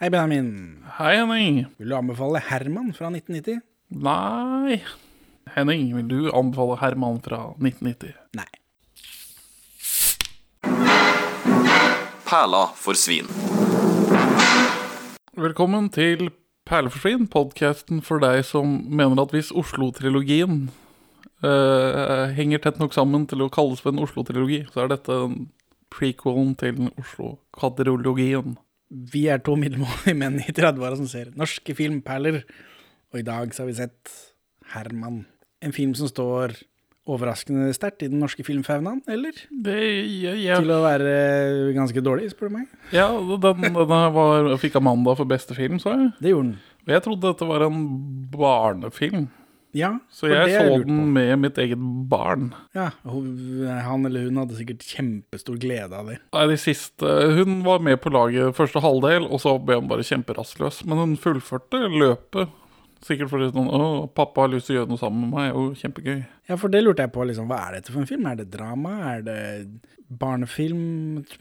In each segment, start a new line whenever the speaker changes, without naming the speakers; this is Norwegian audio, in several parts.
Hei, Benjamin.
Hei, Henning.
Vil du anbefale Herman fra 1990?
Nei. Henning, vil du anbefale Herman fra 1990?
Nei.
Perla for svin.
Velkommen til Perleforsvinn, podkasten for deg som mener at hvis Oslo-trilogien eh, henger tett nok sammen til å kalles for en Oslo-trilogi, så er dette en prequelen til den Oslo-kvadrologien.
Vi er to middelmådige menn i 30-åra som ser norske filmperler, og i dag så har vi sett Herman. En film som står overraskende sterkt i den norske filmfaunaen, eller?
Det, jeg, jeg,
Til å være eh, ganske dårlig, spør du meg.
ja, den, denne var, fikk Amanda for beste film, så jeg.
Det gjorde den.
Og jeg trodde dette var en barnefilm,
Ja,
så
for
jeg
det har
så
lurt på.
den med mitt eget barn.
Ja, hun- Han eller hun hadde sikkert kjempestor glede av det.
Nei, de siste Hun var med på laget første halvdel, og så ble hun bare kjemperastløs. Men hun fullførte løpet. Sikkert fordi sånn, å, pappa har lyst til å gjøre noe sammen med meg. Og kjempegøy.
Ja, for det lurte jeg på, liksom, hva er dette for en film? Er det drama? Er det barnefilm?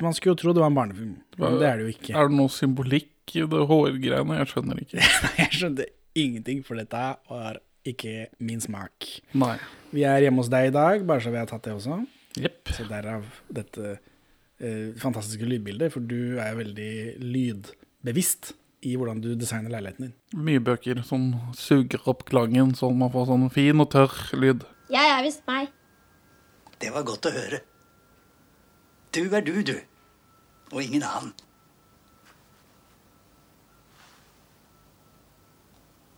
Man skulle jo tro det var en barnefilm, men det er det jo ikke.
Er det noe symbolikk i det hårgreiene? Jeg skjønner ikke.
Nei, jeg skjønte ingenting, for dette var ikke min smak.
Nei.
Vi er hjemme hos deg i dag, bare så vi har tatt det også.
Jepp.
Så derav dette eh, fantastiske lydbildet, for du er veldig lydbevisst i hvordan du designer leiligheten din.
Mye bøker som suger opp klangen, sånn man får sånn fin og tørr lyd.
Jeg er visst meg.
Det var godt å høre. Du er du, du. Og ingen annen.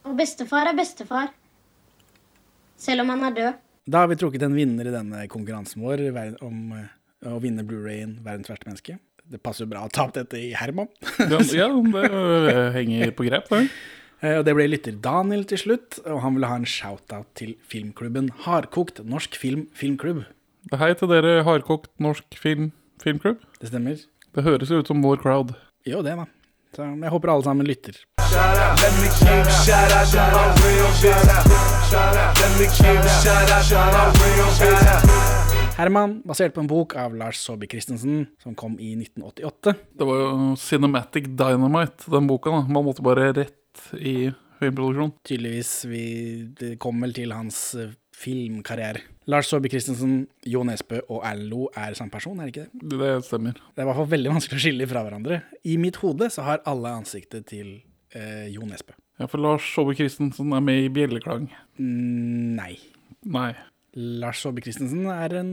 Og bestefar er bestefar. Selv om han er død.
Da har vi trukket en vinner i denne konkurransen vår ver- om eh, å vinne Blu-rayen Verdens verste menneske. Det passer jo bra å ta opp dette i Herman.
Ja, ja det øh, henger på grep, det.
Eh, Og det ble lytter Daniel til slutt, og han ville ha en shout-out til filmklubben Hardkokt norsk film filmklubb.
Hei til dere hardkokt norsk film filmklubb.
Det stemmer?
Det høres jo ut som vår crowd.
Jo, det, da. Så jeg håper alle sammen lytter. Herman, basert på en bok av Lars Saabye Christensen, som kom i 1988.
Det var jo Cinematic Dynamite, den boka. da Man måtte bare rett i filmproduksjon.
Tydeligvis vi det kom vel til hans eh, filmkarriere. Lars Saabye Christensen, Jo Nesbø og Erlend Lo er samme person, er det ikke det?
Det stemmer.
Det er i hvert fall veldig vanskelig å skille fra hverandre. I mitt hode så har alle ansiktet til eh, Jo Nesbø.
Ja, For Lars Saabye Christensen er med i Bjelleklang.
Mm, nei.
Nei.
Lars Saabye Christensen er en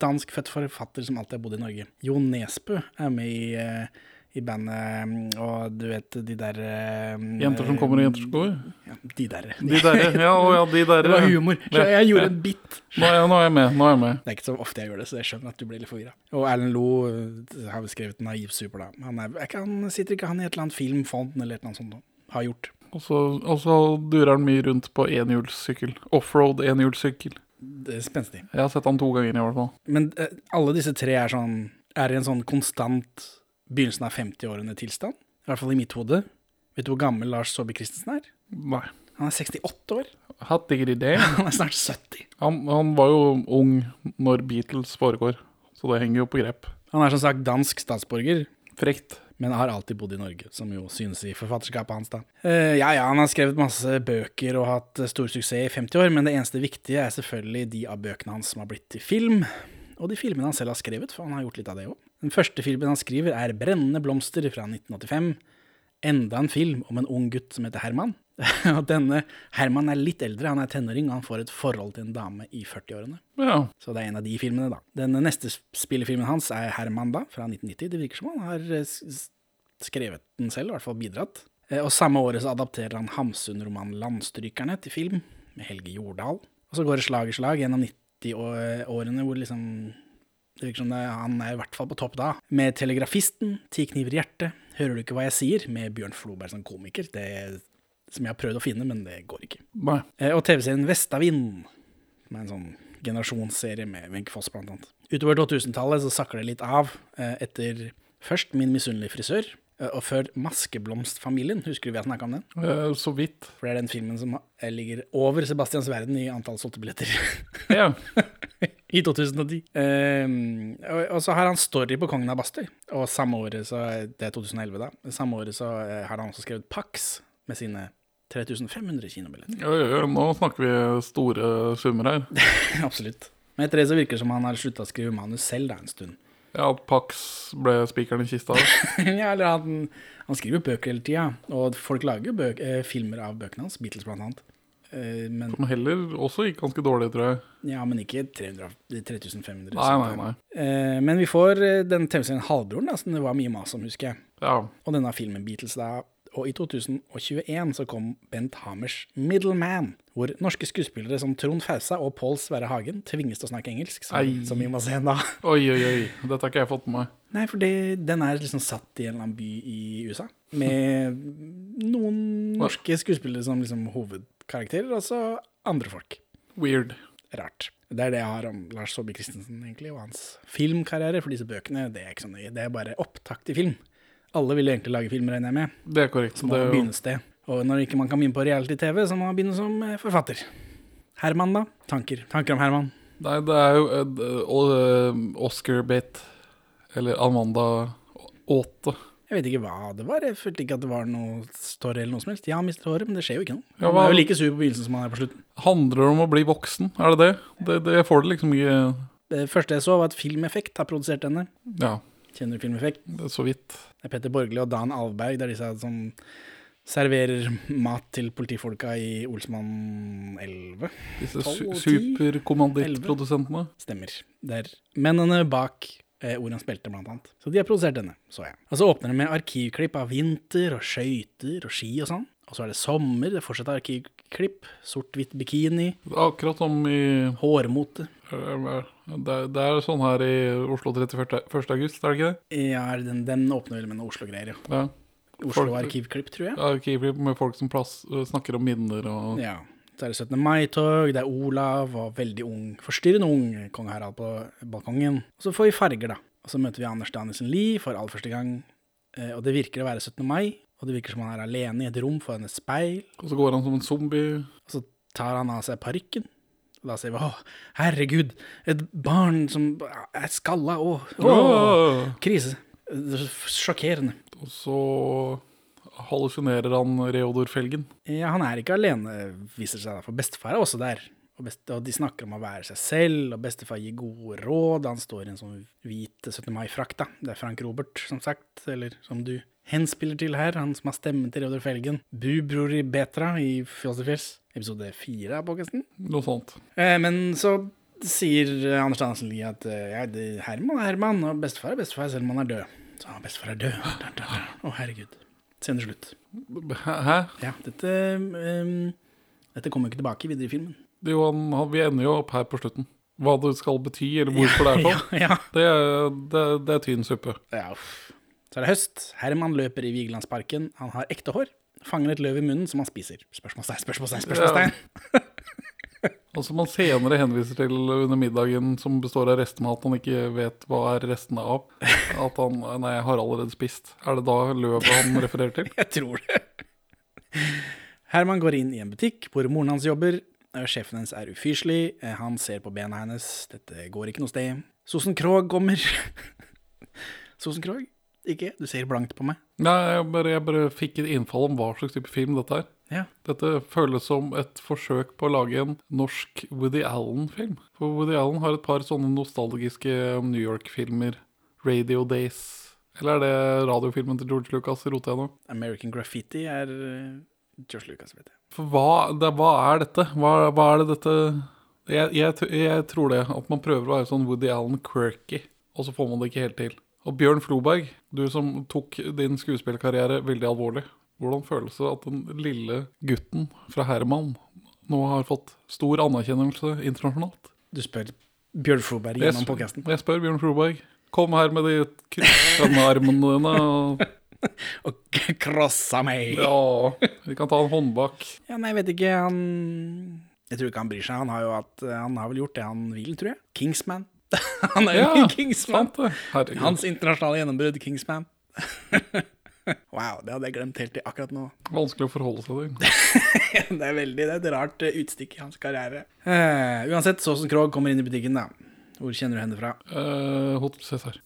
danskfødt forfatter som alltid har bodd i Norge. Jo Nesbø er med i, eh, i bandet mm, og du vet de der eh,
Jenter som kommer og jenter som går.
Ja, de der.
De derre. Ja, å ja, de derre.
Det var humor. Så jeg gjorde en bit.
Nå er jeg, nå er jeg med. nå er jeg med
Det er ikke så ofte jeg gjør det, så jeg skjønner at du blir litt forvirra. Og Erlend Loe eh, har skrevet 'Naiv super', da. Han er, er ikke han, sitter ikke han i et eller annet filmfond eller et eller annet sånt? nå? Har gjort.
Og så, og så durer han mye rundt på enhjulssykkel. Offroad enhjulssykkel.
Det er Spenstig.
Jeg har sett han to ganger i hvert fall.
Men eh, alle disse tre er, sånn, er i en sånn konstant begynnelsen av 50-årene-tilstand. I hvert fall i mitt hode. Vet du hvor gammel Lars Saabye Christensen er?
Nei.
Han er 68 år.
Hatt digger idé.
Han er snart 70.
Han, han var jo ung når Beatles foregår, så det henger jo på grep.
Han er som sagt dansk statsborger,
Frekt.
men har alltid bodd i Norge, som jo synes i forfatterskapet hans, da. Eh, ja ja, han har skrevet masse bøker og hatt eh, stor suksess i 50 år, men det eneste viktige er selvfølgelig de av bøkene hans som har blitt til film, og de filmene han selv har skrevet, for han har gjort litt av det òg. Den første filmen han skriver, er 'Brennende blomster' fra 1985. Enda en film om en ung gutt som heter Herman. Og denne Herman er litt eldre, han er tenåring, og han får et forhold til en dame i 40-årene.
Ja.
Så det er en av de filmene, da. Den neste spillefilmen hans er 'Herman', da, fra 1990. Det virker som han har eh, s- s- skrevet den selv, i hvert fall bidratt. Eh, Og samme året så adapterer han Hamsun-romanen 'Landstrykerne' til film, med Helge Jordal. Og så går det slag i slag gjennom 90-årene, hvor liksom det virker som det, han er i hvert fall på topp da. Med 'Telegrafisten', 'Ti kniver i hjertet', 'Hører du ikke hva jeg sier?' med Bjørn Floberg som komiker. Det som jeg har prøvd å finne, men det går ikke.
Nei.
Eh, Og TV-serien Vestavind, som er en sånn generasjonsserie med Wenche Foss blant annet. Utover 2000-tallet så sakker det litt av, eh, etter først Min misunnelige frisør, eh, og før Maskeblomstfamilien, husker du vi har snakka om den?
Eh, Så vidt.
For det er den filmen som eh, ligger over Sebastians verden i antall solgte billetter.
Ja.
I 2010. Ehm, og, og så har han story på Kongen av Bastøy. Og samme året, så det er 2011, da. Samme året så eh, har han også skrevet Pax med sine 3500 kinobilletter.
Oi, oi, oi, nå snakker vi store summer her.
Absolutt. Men etter det så virker det som han har slutta å skrive manus selv da en stund.
Ja, Pax ble spikeren i kista.
ja, eller han, han skriver jo bøker hele tida, og folk lager jo bøk, eh, filmer av bøkene hans, Beatles blant annet. Eh, men,
Som heller også gikk ganske dårlig, tror jeg.
ja, men ikke eh, 300, 3500.
Nei, nei, nei.
Eh, men vi får eh, den TV-serien Halvbroren, da, som det var mye mas om, husker jeg.
Ja.
Og denne filmen Beatles, da. Og i 2021 så kom Bent Hamers 'Middleman', hvor norske skuespillere som Trond Fausa og Pål Sverre Hagen tvinges til å snakke engelsk, som,
Ei.
som vi må se da.
Oi, oi, oi. Dette har ikke jeg fått med meg.
Nei, for det, den er liksom satt i en eller annen by i USA, med noen norske skuespillere som liksom hovedkarakterer, og så andre folk.
Weird.
Rart. Det er det jeg har om Lars Saabye Christensen egentlig, og hans filmkarriere, for disse bøkene det er ikke så nøye. Det er bare opptak til film. Alle vil egentlig lage film, regner jeg med.
Det er korrekt.
Må
Det er jo
begynne sted. Og når ikke man kan begynne på reality-TV, så må man begynne som eh, forfatter. Herman, da? Tanker. Tanker om Herman?
Nei, det er jo eh, o- eh, Oscar Bate. Eller Amanda Åte.
Jeg vet ikke hva det var. Jeg følte ikke at det var noe story eller noe som helst. Ja, han mistet håret, men det skjer jo ikke noe.
Ja,
Han
hva-
er jo like sur på begynnelsen som han er på slutten.
Handler det om å bli voksen? Er det det? det, det jeg får det liksom ikke
Det første jeg så, var at Filmeffekt har produsert henne.
Ja,
Kjenner du Filmeffekt?
det er så vidt.
Det er Petter Borgli og Dan Alvberg, det er disse som serverer mat til politifolka i Olsmann 11.
Disse
Tolv
su
og ti?
superkommandittprodusentene.
Stemmer. Det er mennene bak eh, Hvor han spilte, blant annet. Så de har produsert denne, så jeg. Og så åpner det med arkivklipp av vinter og skøyter og ski og sånn. Og så er det sommer, det fortsetter arkivklipp. Sort-hvitt bikini,
Akkurat som i
hårmote.
det er, det er sånn her i Oslo 31. august, er det ikke det?
Ja, den, den åpner vel med noen Oslo-greier, jo.
Ja. Folk-
Oslo-arkivklipp, tror jeg.
Arkiver med folk som plass, snakker om minner og
Ja. Så er det 17. mai-tog, det er Olav og veldig ung, forstyrrende ung kong Harald på balkongen. Og så får vi farger, da. Og så møter vi Anders Danielsen Lie for aller første gang. Eh, Og det virker å være 17. mai, og det virker som han er alene i et rom foran et speil.
Og så går han som en zombie.
Og så tar han av seg parykken. Og da sier vi 'Å, herregud, et barn som er skalla', å, å,
Åh!
krise. Det er Sjokkerende.
Og så hallusinerer han Reodor-felgen.
Ja, han er ikke alene, viser det seg da, for bestefar er også der. Og, best, og de snakker om å være seg selv, og bestefar gir gode råd. Han står i en sånn hvit 17. mai-frakt, da. Det er Frank Robert, som sagt, eller som du henspiller til her, han som har stemmen til Reodor Felgen. Bubror i Betra i Fjols til fjells, episode fire av podkasten.
Noe sånt.
Eh, men så sier eh, Anders Danielsen Lie at eh, ja, det, Herman er Herman, og bestefar er bestefar selv om han er død. Så han bestefar er død. Da, da, da. Å, herregud. Sender slutt.
Hæ?
Ja, dette, ehm, dette kommer jo ikke tilbake videre i filmen.
Det er jo han, han, vi ender jo opp her på slutten. Hva det skal bety, eller hvorfor det er sånn.
Ja, ja.
Det, er- det, det er tynn suppe.
Ja, uff. Så er det høst. Herman løper i Vigelandsparken. Han har ekte hår. Fanger et løv i munnen som han spiser. Spørsmålstegn, spørsmålstegn, spørsmålstegn.
Og som han senere henviser til under middagen, som består av restemat han ikke vet hva er restene av. At han Nei, jeg har allerede spist. Er det da løvet han refererer til?
Jeg tror det. Herman går inn i en butikk hvor moren hans jobber. Eh, Sjefen hennes er ufyselig. Eh, Han ser på bena hennes. Dette går ikke noe sted. Sosen Krog kommer. Sosen Krog? Ikke? Du ser blankt på meg.
Nei, jeg bare, jeg bare fikk et innfall om hva slags type film dette er.
Ja.
Dette føles som et forsøk på å lage en norsk Woody Allen-film. For Woody Allen har et par sånne nostalgiske New York-filmer. Radio Days. Eller er det radiofilmen til George Lucas? Roter jeg nå?
American Graffiti er eh, George Lucas, vet jeg.
For hva, det, hva er dette? Hva, hva er det dette jeg, jeg, t- jeg tror det. At man prøver å være sånn Woody Allen quirky, og så får man det ikke helt til. Og Bjørn Floberg, du som tok din skuespillkarriere veldig alvorlig. Hvordan føles det at den lille gutten fra Herman nå har fått stor anerkjennelse internasjonalt?
Du spør Bjørn Floberg
Jeg,
gjennom
s-
podkasten.
jeg spør Bjørn Floberg. Kom her med de kryssende armene dine. Og,
Og krossa meg! Ja.
ja, vi kan ta en håndbak.
nei, jeg vet ikke, han Jeg tror ikke han bryr seg. Han har jo hatt Han har vel gjort det han vil, tror jeg. Kingsman. han er jo
Ja,
i Kingsman.
sant det. Herregud.
Hans internasjonale gjennombrudd, Kingsman. wow, det hadde jeg glemt helt til akkurat nå.
Vanskelig å forholde seg til.
det er veldig det er et rart eh, utstikk i hans karriere. Eh, uansett, Såsen Krog kommer inn i butikken, da. Hvor kjenner du henne fra?
Eh, Hotel Cæsar.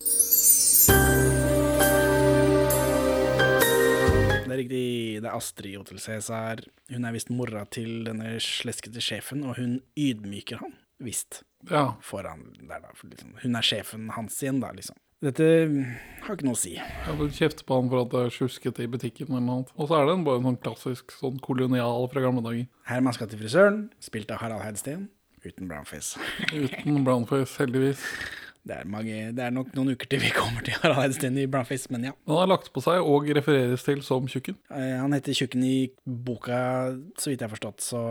Det er riktig, det er Astrid Hotel Cæsar. Hun er visst mora til denne sleskete sjefen, og hun ydmyker han, visst.
Ja.
Foran der, da. For liksom, hun er sjefen hans igjen, da, liksom. Dette har ikke noe å si.
Jeg vil kjefte på han for at det er sjusket i butikken eller noe annet. Og så er den bare en sånn klassisk sånn kolonial fra gamle dager.
Herman skal til frisøren, spilt av Harald Heidsten, uten brownface.
Uten brownface, heldigvis.
Det er, mange, det er nok noen uker til vi kommer til Harald Heidsten i brownface, men ja.
Den er lagt på seg og refereres til som tjukken.
Eh, Han heter Tjukken i boka, så vidt jeg har forstått, så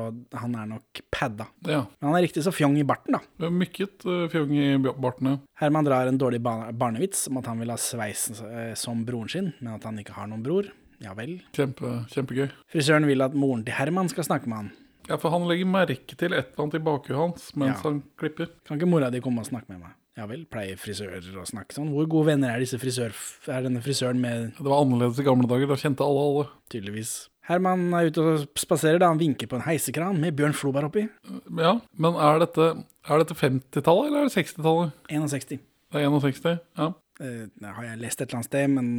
han er nok padda.
Ja.
Men han er riktig så fjong i barten, da.
Det er Mykket eh, fjong i b- barten, ja.
Herman drar en dårlig barne barnevits om at han vil ha sveisen eh, som broren sin, men at han ikke har noen bror. Ja vel.
Kjempe, kjempegøy.
Frisøren vil at moren til Herman skal snakke med han.
Ja, for han legger merke til et eller annet i bakhuet hans mens
Ja.
han klipper.
Kan ikke mora di komme og snakke med meg? Ja vel, pleier frisører å snakke sånn? Hvor gode venner er, disse frisør er denne frisøren med,
Det var annerledes i gamle dager, da kjente alle alle.
tydeligvis? Herman er ute og spaserer da han vinker på en heisekran med Bjørn Floberg oppi.
Ja, men er dette, er dette 50-tallet eller er det 60-tallet?
61.
Det er 61, ja.
Eh, Det har jeg lest et eller annet sted, men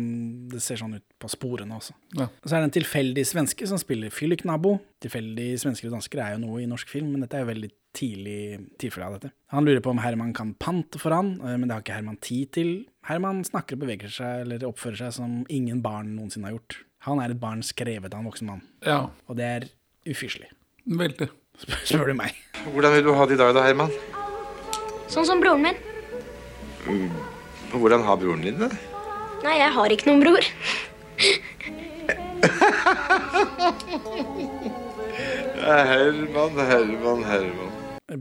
det ser sånn ut på sporene også.
Ja.
Og så er det en tilfeldig svenske som spiller Fylliknabo. Tilfeldig svensker og dansker er jo noe i norsk film, men dette er jo veldig tidlig tilfelle av dette. Han lurer på om Herman kan pante for han, eh, men det har ikke Herman tid til. Herman snakker og beveger seg eller oppfører seg som ingen barn noensinne har gjort. Han er et barn skrevet av en voksen mann,
Ja,
og det er ufyselig.
veldig.
Spør, spør du meg.
Hvordan vil du ha det i dag da, Herman?
Sånn som broren min.
Hvordan har broren din det?
Nei, jeg har ikke noen bror.
Herman, Herman, Herman.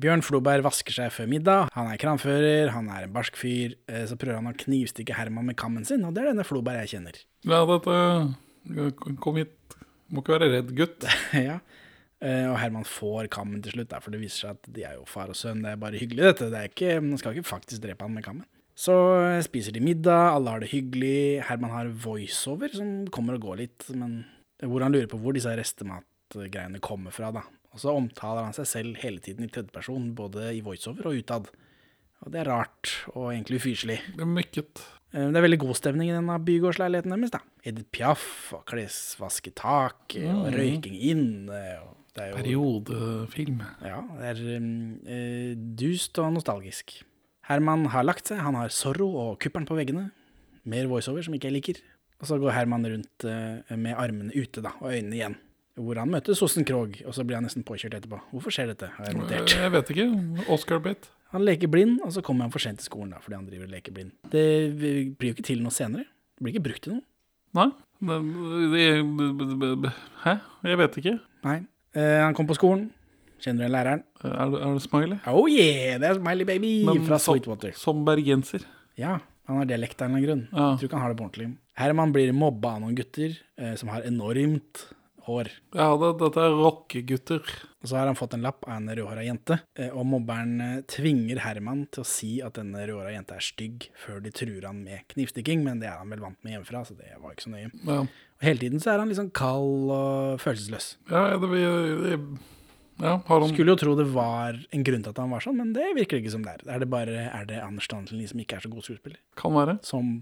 Bjørn Floberg vasker seg før middag. Han er kranfører, han er en barsk fyr. Eh, Så prøver han å knivstikke Herman med kammen sin, og det er denne Floberg jeg kjenner.
Ja, dette eh, Kom hit. Må ikke være redd, gutt.
ja. Eh, Og Herman får kammen til slutt, da, for det viser seg at de er jo far og sønn. Det er bare hyggelig, dette. Det er ikke, man skal ikke faktisk drepe han med kammen. Så eh, spiser de middag, alle har det hyggelig. Herman har voiceover som kommer og går litt, men hvor han lurer på hvor disse restematgreiene kommer fra, da. Og så omtaler han seg selv hele tiden i tredjeperson, både i voiceover og utad. Og det er rart, og egentlig ufyselig.
Det er Mykket.
Eh, Det er veldig god stemning i denne bygårdsleiligheten deres. da. Edith Piaf og klesvaske tak eh, og røyking inn. eh, og Det er jo
Periodefilm.
ja, det er mm, eh, dust og nostalgisk. Herman har lagt seg, han har Zorro og kuppelen på veggene. Mer voiceover, som ikke jeg liker. Og så går Herman rundt eh, med armene ute da, og øynene igjen. Hvor han møter Sossen Krog, og så blir han nesten påkjørt etterpå. Hvorfor skjer dette? har jeg
Eh,
notert.
Jeg vet ikke. Oscar Bate.
Han leker blind, og så kommer han for sent til skolen da, fordi han driver og leker blind. Det blir jo ikke til noe senere. Det blir ikke brukt til noe.
Nei. eh, Det, det, hæ? Jeg vet ikke.
Nei. Eh, han kom på skolen. Kjenner du igjen læreren?
Er det, er det Smiley?
Oh yeah, det er Smiley Baby
Men
fra
som-
Sweetwater.
Som bergenser.
Ja, han har dialekt av en eller annen grunn.
Ja.
Jeg tror ikke han har det på ordentlig. Herman blir mobba av noen gutter eh, som har enormt hår.
Ja, det, dette er rockegutter.
Og så har han fått en lapp av en rødhåra jente, eh, og mobberen eh, tvinger Herman til å si at denne rødhåra jenta er stygg, før de truer han med knivstikking, men det er han vel vant med hjemmefra, så det var ikke så nøye.
Ja.
Og hele tiden så er han liksom kald og følelsesløs.
Ja, det, det, ja har han
Skulle jo tro det var en grunn til at han var sånn, men det virker det ikke som det er. Er det bare er det Anders Danselin som ikke er så god skuespiller?
Kan være.
Som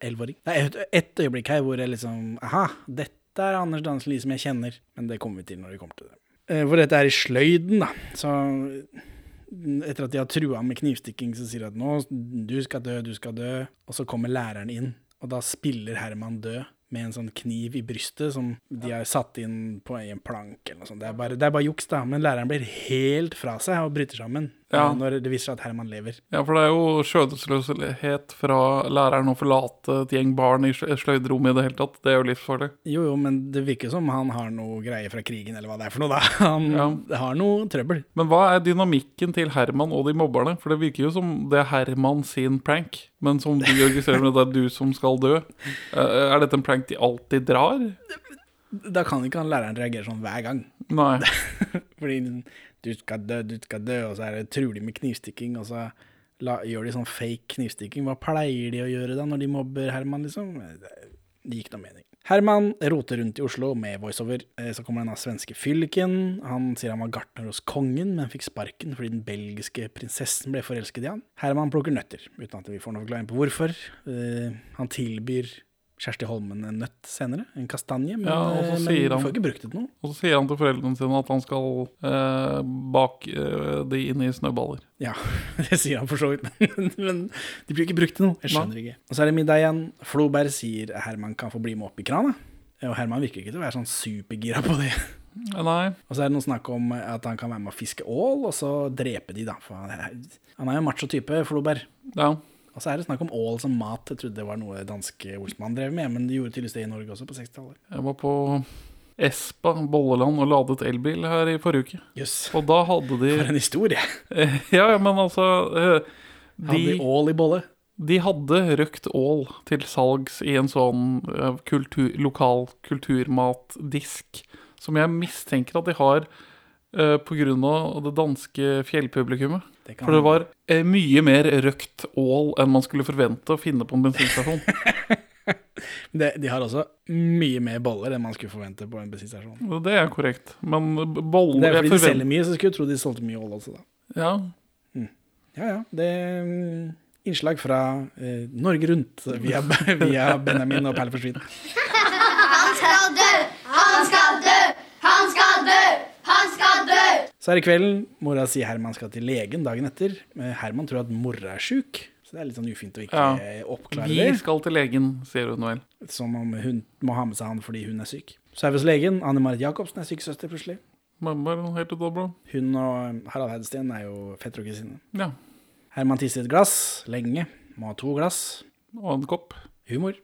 elleveåring? Det er et, et øyeblikk her hvor jeg liksom Aha, dette er Anders Danselin som jeg kjenner. Men det kommer vi til når vi kommer til det. Eh, hvor dette er i sløyden, da. Så mm, etter at de har trua med knivstikking, så sier de at nå, du skal dø, du skal dø. Og så kommer læreren inn, og da spiller Herman død. Med en sånn kniv i brystet som de har satt inn på en plank eller noe sånt. Det er bare, det er bare juks, da. Men læreren blir helt fra seg og bryter sammen eh,
Ja.
når det viser seg at Herman lever.
Ja, for det er jo skjødesløshet fra læreren å forlate et gjeng barn i slø- sløydrom i det hele tatt. Det er jo livsfarlig.
Jo, jo, men det virker som han har noe greie fra krigen, eller hva det er for noe, da. Han har noe trøbbel.
Men hva er dynamikken til Herman og de mobberne? For det virker jo som det er Herman sin prank, men som du registrerer med, det er du som skal dø. Eh, Er dette en prank de alltid drar?
Da kan ikke han læreren reagere sånn hver gang.
Nei.
Fordi du skal dø, du skal dø, og så er det trulig med knivstikking, og så la, gjør de sånn fake knivstikking. Hva pleier de å gjøre da, når de mobber Herman, liksom? Det det gir ikke noe mening. Herman roter rundt i Oslo med voiceover. Eh, Så kommer denne svenske fylliken. Han sier han var gartner hos kongen, men fikk sparken fordi den belgiske prinsessen ble forelsket i han. Herman plukker nøtter, uten at vi får noen forklaring på hvorfor. Eh, Han tilbyr Kjersti Holmen en nøtt senere, en kastanje, men,
Ja, og så
eh, men
sier han-
får ikke brukt det til noe.
Og så sier han til foreldrene sine at han skal eh, bake eh, de inn i snøballer.
Ja, det sier han for så vidt, men, men de blir ikke brukt til noe. Jeg skjønner ikke. Og så er det middag igjen. Floberg sier Herman kan få bli med opp i krana. Og Herman virker ikke til å være sånn supergira på det.
Eh, Nei,
Og så er det noe snakk om at han kan være med å fiske ål, og så drepe de, da. For han er, han er jo en macho type, Floberg.
ja.
Og så er det snakk om ål som mat. Jeg trodde det var noe danske Olsmann drev med, men de gjorde tydeligvis det i Norge også på 60-tallet.
Jeg var på Espa, Bolleland, og ladet elbil her i forrige uke.
Jøss.
Og da hadde de
For en historie!
Ja, ja, men altså eh,
Hadde de
de,
ål i bolle?
de hadde røkt ål til salgs i en sånn eh, kultur, lokal kulturmatdisk, som jeg mistenker at de har eh, på grunn av det danske fjellpublikummet.
Det kan-
For det var eh, mye mer røkt ål enn man skulle forvente å finne på en bensinstasjon.
De, de har også mye mer boller enn man skulle forvente på en bensinstasjon.
Det er korrekt. Men boller
Det er fordi
jeg
de selger
forvent-
mye, så skulle jeg tro de solgte mye ål også, da.
Ja,
Ja, ja. Det er mm, innslag fra eh, Norge Rundt via, via Benjamin og Perle forsvinner.
skal dø! Han skal dø! Han skal dø! Han skal dø!
Så er det kvelden. Mora sier Herman skal til legen dagen etter. Eh, Herman tror at mora er sjuk, så det er litt sånn ufint å ikke
Ja.
eh, oppklare
vi
det.
skal til legen, sier hun vel.
Som om hun må ha med seg han fordi hun er syk. Så er vi hos legen. Anne Marit Jacobsen er syk søster, plutselig.
Mamma er helt ute av blå.
Hun og eh, Harald Heidesteen er jo fetter og kusine.
Ja.
Herman tisser i et glass lenge. Må ha to glass.
Og en kopp. Eh,
Humor.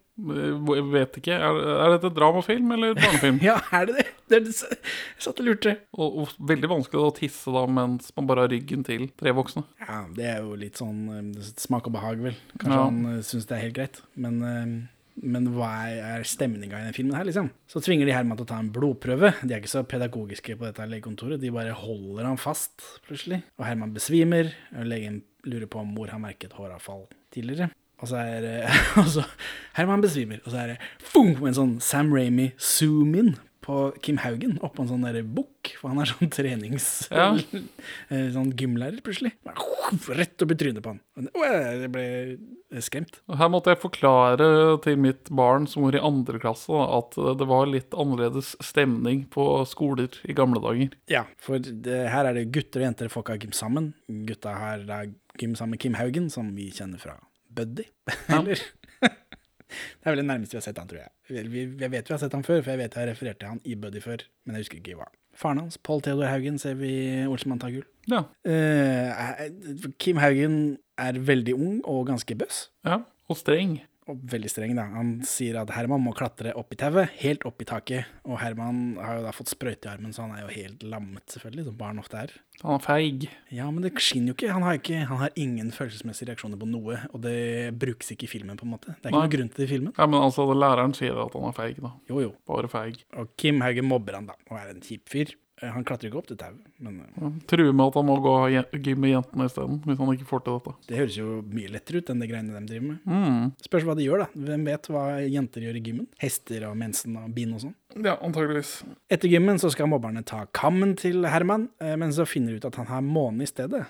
Jeg vet ikke. Er, er dette dramafilm eller barnefilm?
Ja, er det det? det, er det jeg satt og lurte.
og, og veldig vanskelig å tisse da mens man bare har ryggen til tre voksne.
Ja, det er jo litt sånn eh, smak og behag, vel. Kanskje
Ja.
han uh, syns det er helt greit. Men, eh, men hva er- er stemninga i den filmen her, liksom? Så tvinger de Herman til å ta en blodprøve. De er ikke så pedagogiske på dette legekontoret. De bare holder han fast, plutselig. Og Herman besvimer. og Legen lurer på om mor har merket håravfall tidligere. Og så er eh, og så Herman besvimer, og så er det fung, en sånn Sam Ramy zoom-in på Kim Haugen oppå en sånn derre bukk, for han er sånn trenings...
Ja.
Eh, sånn gymlærer plutselig. Bare Rett opp i trynet på han. Og det- Åh, Jeg ble skremt.
Og Her måtte jeg forklare til mitt barn som var i andre klasse, da, at eh, det var litt annerledes stemning på skoler i gamle dager.
Ja, for det, her er det gutter og jenter folk har gym sammen. Gutta har da gym sammen med Kim Haugen, som vi kjenner fra Buddy. Eller? Det er vel det nærmeste vi har sett han, tror jeg. Vel, vi- Jeg vet vi har sett han før, for jeg vet jeg har referert til han i Buddy før, men jeg husker ikke hva. Faren hans, Pål Theodor Haugen, ser vi i Olsenmann ta gull.
Ja,
Eh, Kim Haugen er veldig ung og ganske bøss.
ja. Og streng.
og veldig streng, da. Han sier at Herman må klatre opp i tauet, helt opp i taket. Og Herman har jo da fått sprøyte i armen, så han er jo helt lammet, selvfølgelig, som barn ofte er.
Han er feig.
Ja, men det skinner jo ikke. Han har, ikke, han har ingen følelsesmessige reaksjoner på noe, og det brukes ikke i filmen, på en måte. Det er ikke
Nei.
noen grunn til det i filmen.
Ja, men altså, læreren sier at han er feig, da.
Jo, jo.
Bare feig.
Og Kim Hauge mobber han, da, og er en kjip fyr. Eh, Han klatrer ikke opp til tauet, men eh,
Ja, Truer med at han må gå og ha je- gym med jentene isteden, hvis han ikke får til dette.
det høres jo mye lettere ut enn det greiene de driver med.
Mm.
Spørs hva de gjør, da. Hvem vet hva jenter gjør i gymmen? Hester og mensen og bind og sånn.
Ja, antageligvis.
Etter gymmen så skal mobberne ta kammen til Herman, eh, men så finner de ut at han har måne i stedet.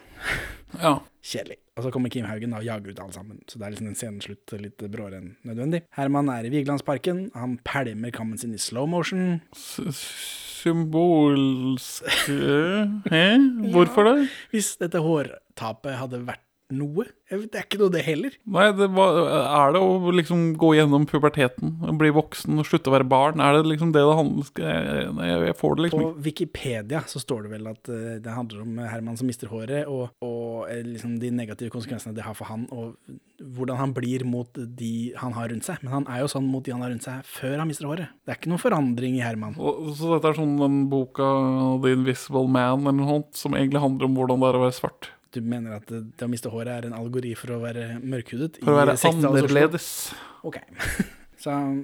Ja.
Kjedelig. Og så kommer Kim Haugen da og jager ut alle sammen, så det er liksom en sceneslutt litt bråere enn nødvendig. Herman er i Vigelandsparken, han pælmer kammen sin i slow motion.
S symbolsk Hæ? Hvorfor det?
Hvis dette hårtapet hadde vært noe jeg vet, Det er ikke noe, det heller.
Nei, det var, er det å liksom gå gjennom puberteten, bli voksen og slutte å være barn? Er det liksom det det handler om? Jeg, jeg får det liksom
På
ikke.
Wikipedia så står det vel at eh, det handler om Herman som mister håret, og, og eh, liksom de negative konsekvensene det har for han, og hvordan han blir mot de han har rundt seg. Men han er jo sånn mot de han har rundt seg før han mister håret. Det er ikke noen forandring i Herman.
Og- Så dette er sånn den boka The Invisible Man eller noe sånt, som egentlig handler om hvordan det er å være svart.
Du mener at eh, det å miste håret er en algori for å være mørkhudet?
For å
i
være
60-tallets Oslo?
annerledes.
Ok. så um,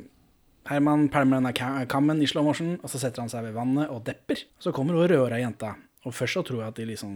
Herman pælmer denne ka- kammen i slow motion, og så setter han seg ved vannet og depper. Så kommer hun rødhåra jenta, og først så tror jeg at de liksom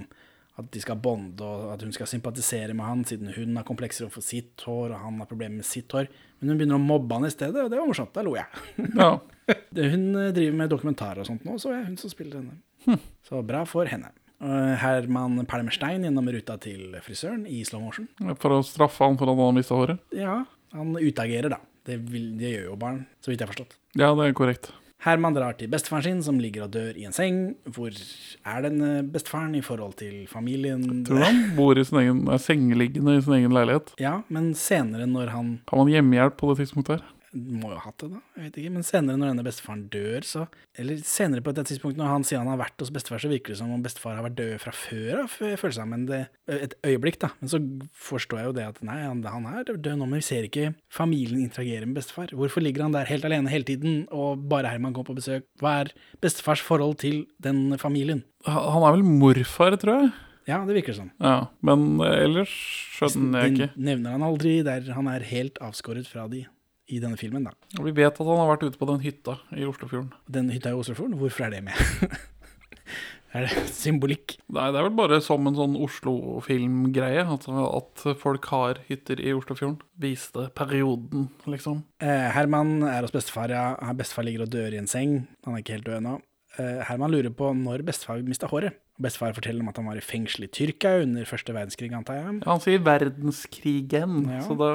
At de skal bonde, og at hun skal sympatisere med han, siden hun har komplekser overfor sitt hår, og han har problemer med sitt hår. Men hun begynner å mobbe han i stedet, og det var morsomt. Da lo jeg.
Ja.
Det- Hun eh, driver med dokumentarer og sånt nå, så er hun som spiller henne. Så bra for henne. Og Herman pælmer stein gjennom ruta til frisøren i slow motion.
For å straffe han for at han har mista håret.
Ja, han utagerer, da. Det, vil, det gjør jo barn, så vidt jeg har forstått.
Ja, det er korrekt.
Herman drar til bestefaren sin, som ligger og dør i en seng. Hvor er den eh, bestefaren i forhold til familien?
Tror du han bor i sin egen, er sengeliggende i sin egen leilighet?
Ja, men senere når han
Har man hjemmehjelp på det tidspunktet her?
Må jo ha hatt det, da. Jeg vet ikke. Men senere når denne bestefaren dør, så Eller senere på et tidspunkt når han sier han har vært hos bestefar, så virker det som om bestefar har vært død fra før av, fø- føles det som. Men det Et øyeblikk, da. Men så forstår jeg jo det at nei, han, han er død nå, men vi ser ikke familien interagere med bestefar. Hvorfor ligger han der helt alene hele tiden, og bare Herman kommer på besøk? Hva er bestefars forhold til den familien?
Ha- Han er vel morfar, tror jeg.
Ja, det virker sånn.
Ja, Men eh, ellers skjønner jeg
Den
ikke.
nevner han aldri der han er helt avskåret fra de i denne filmen, da.
Og Vi vet at han har vært ute på den hytta i Oslofjorden.
Den hytta i Oslofjorden, hvorfor er det med? er det symbolikk?
Nei, det er vel bare som en sånn Oslo-filmgreie. Altså at folk har hytter i Oslofjorden. Viste perioden, liksom.
Eh, Herman er hos bestefar, ja. Han- Bestefar ligger og dør i en seng. Han er ikke helt død ennå. Eh, Herman lurer på når bestefar mista håret. Bestefar forteller om at han var i fengsel i Tyrkia under første verdenskrig, antar jeg.
Ja, han sier verdenskrigen,
Ja.
så da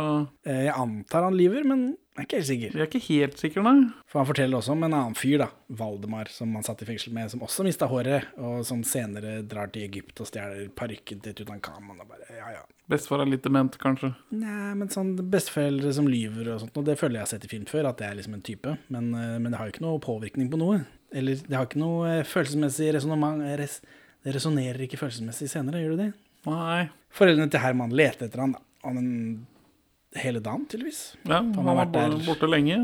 Eh, jeg antar han lyver, men jeg er ikke helt sikker.
Vi er ikke helt sikre, nei.
For han forteller også om en annen fyr, da, Valdemar, som han satt i fengsel med, som også mista håret, og som senere drar til Egypt og stjeler parykken til Tutankhamon. Og bare, ja, ja.
Bestefar er litt dement, kanskje.
Nei, men sånn besteforeldre som lyver og sånt, og det føler jeg har sett i film før, at det er liksom en type, men, eh, men det har jo ikke noe påvirkning på noe. Eller det har ikke noe eh, følelsesmessig resonnement, eh, res, det resonnerer ikke følelsesmessig senere, gjør det det?
Nei.
Foreldrene til Herman leter etter han, da. Han en, hele dagen, tydeligvis.
Ja, han,
har
har
vært
vært
der.
borte lenge.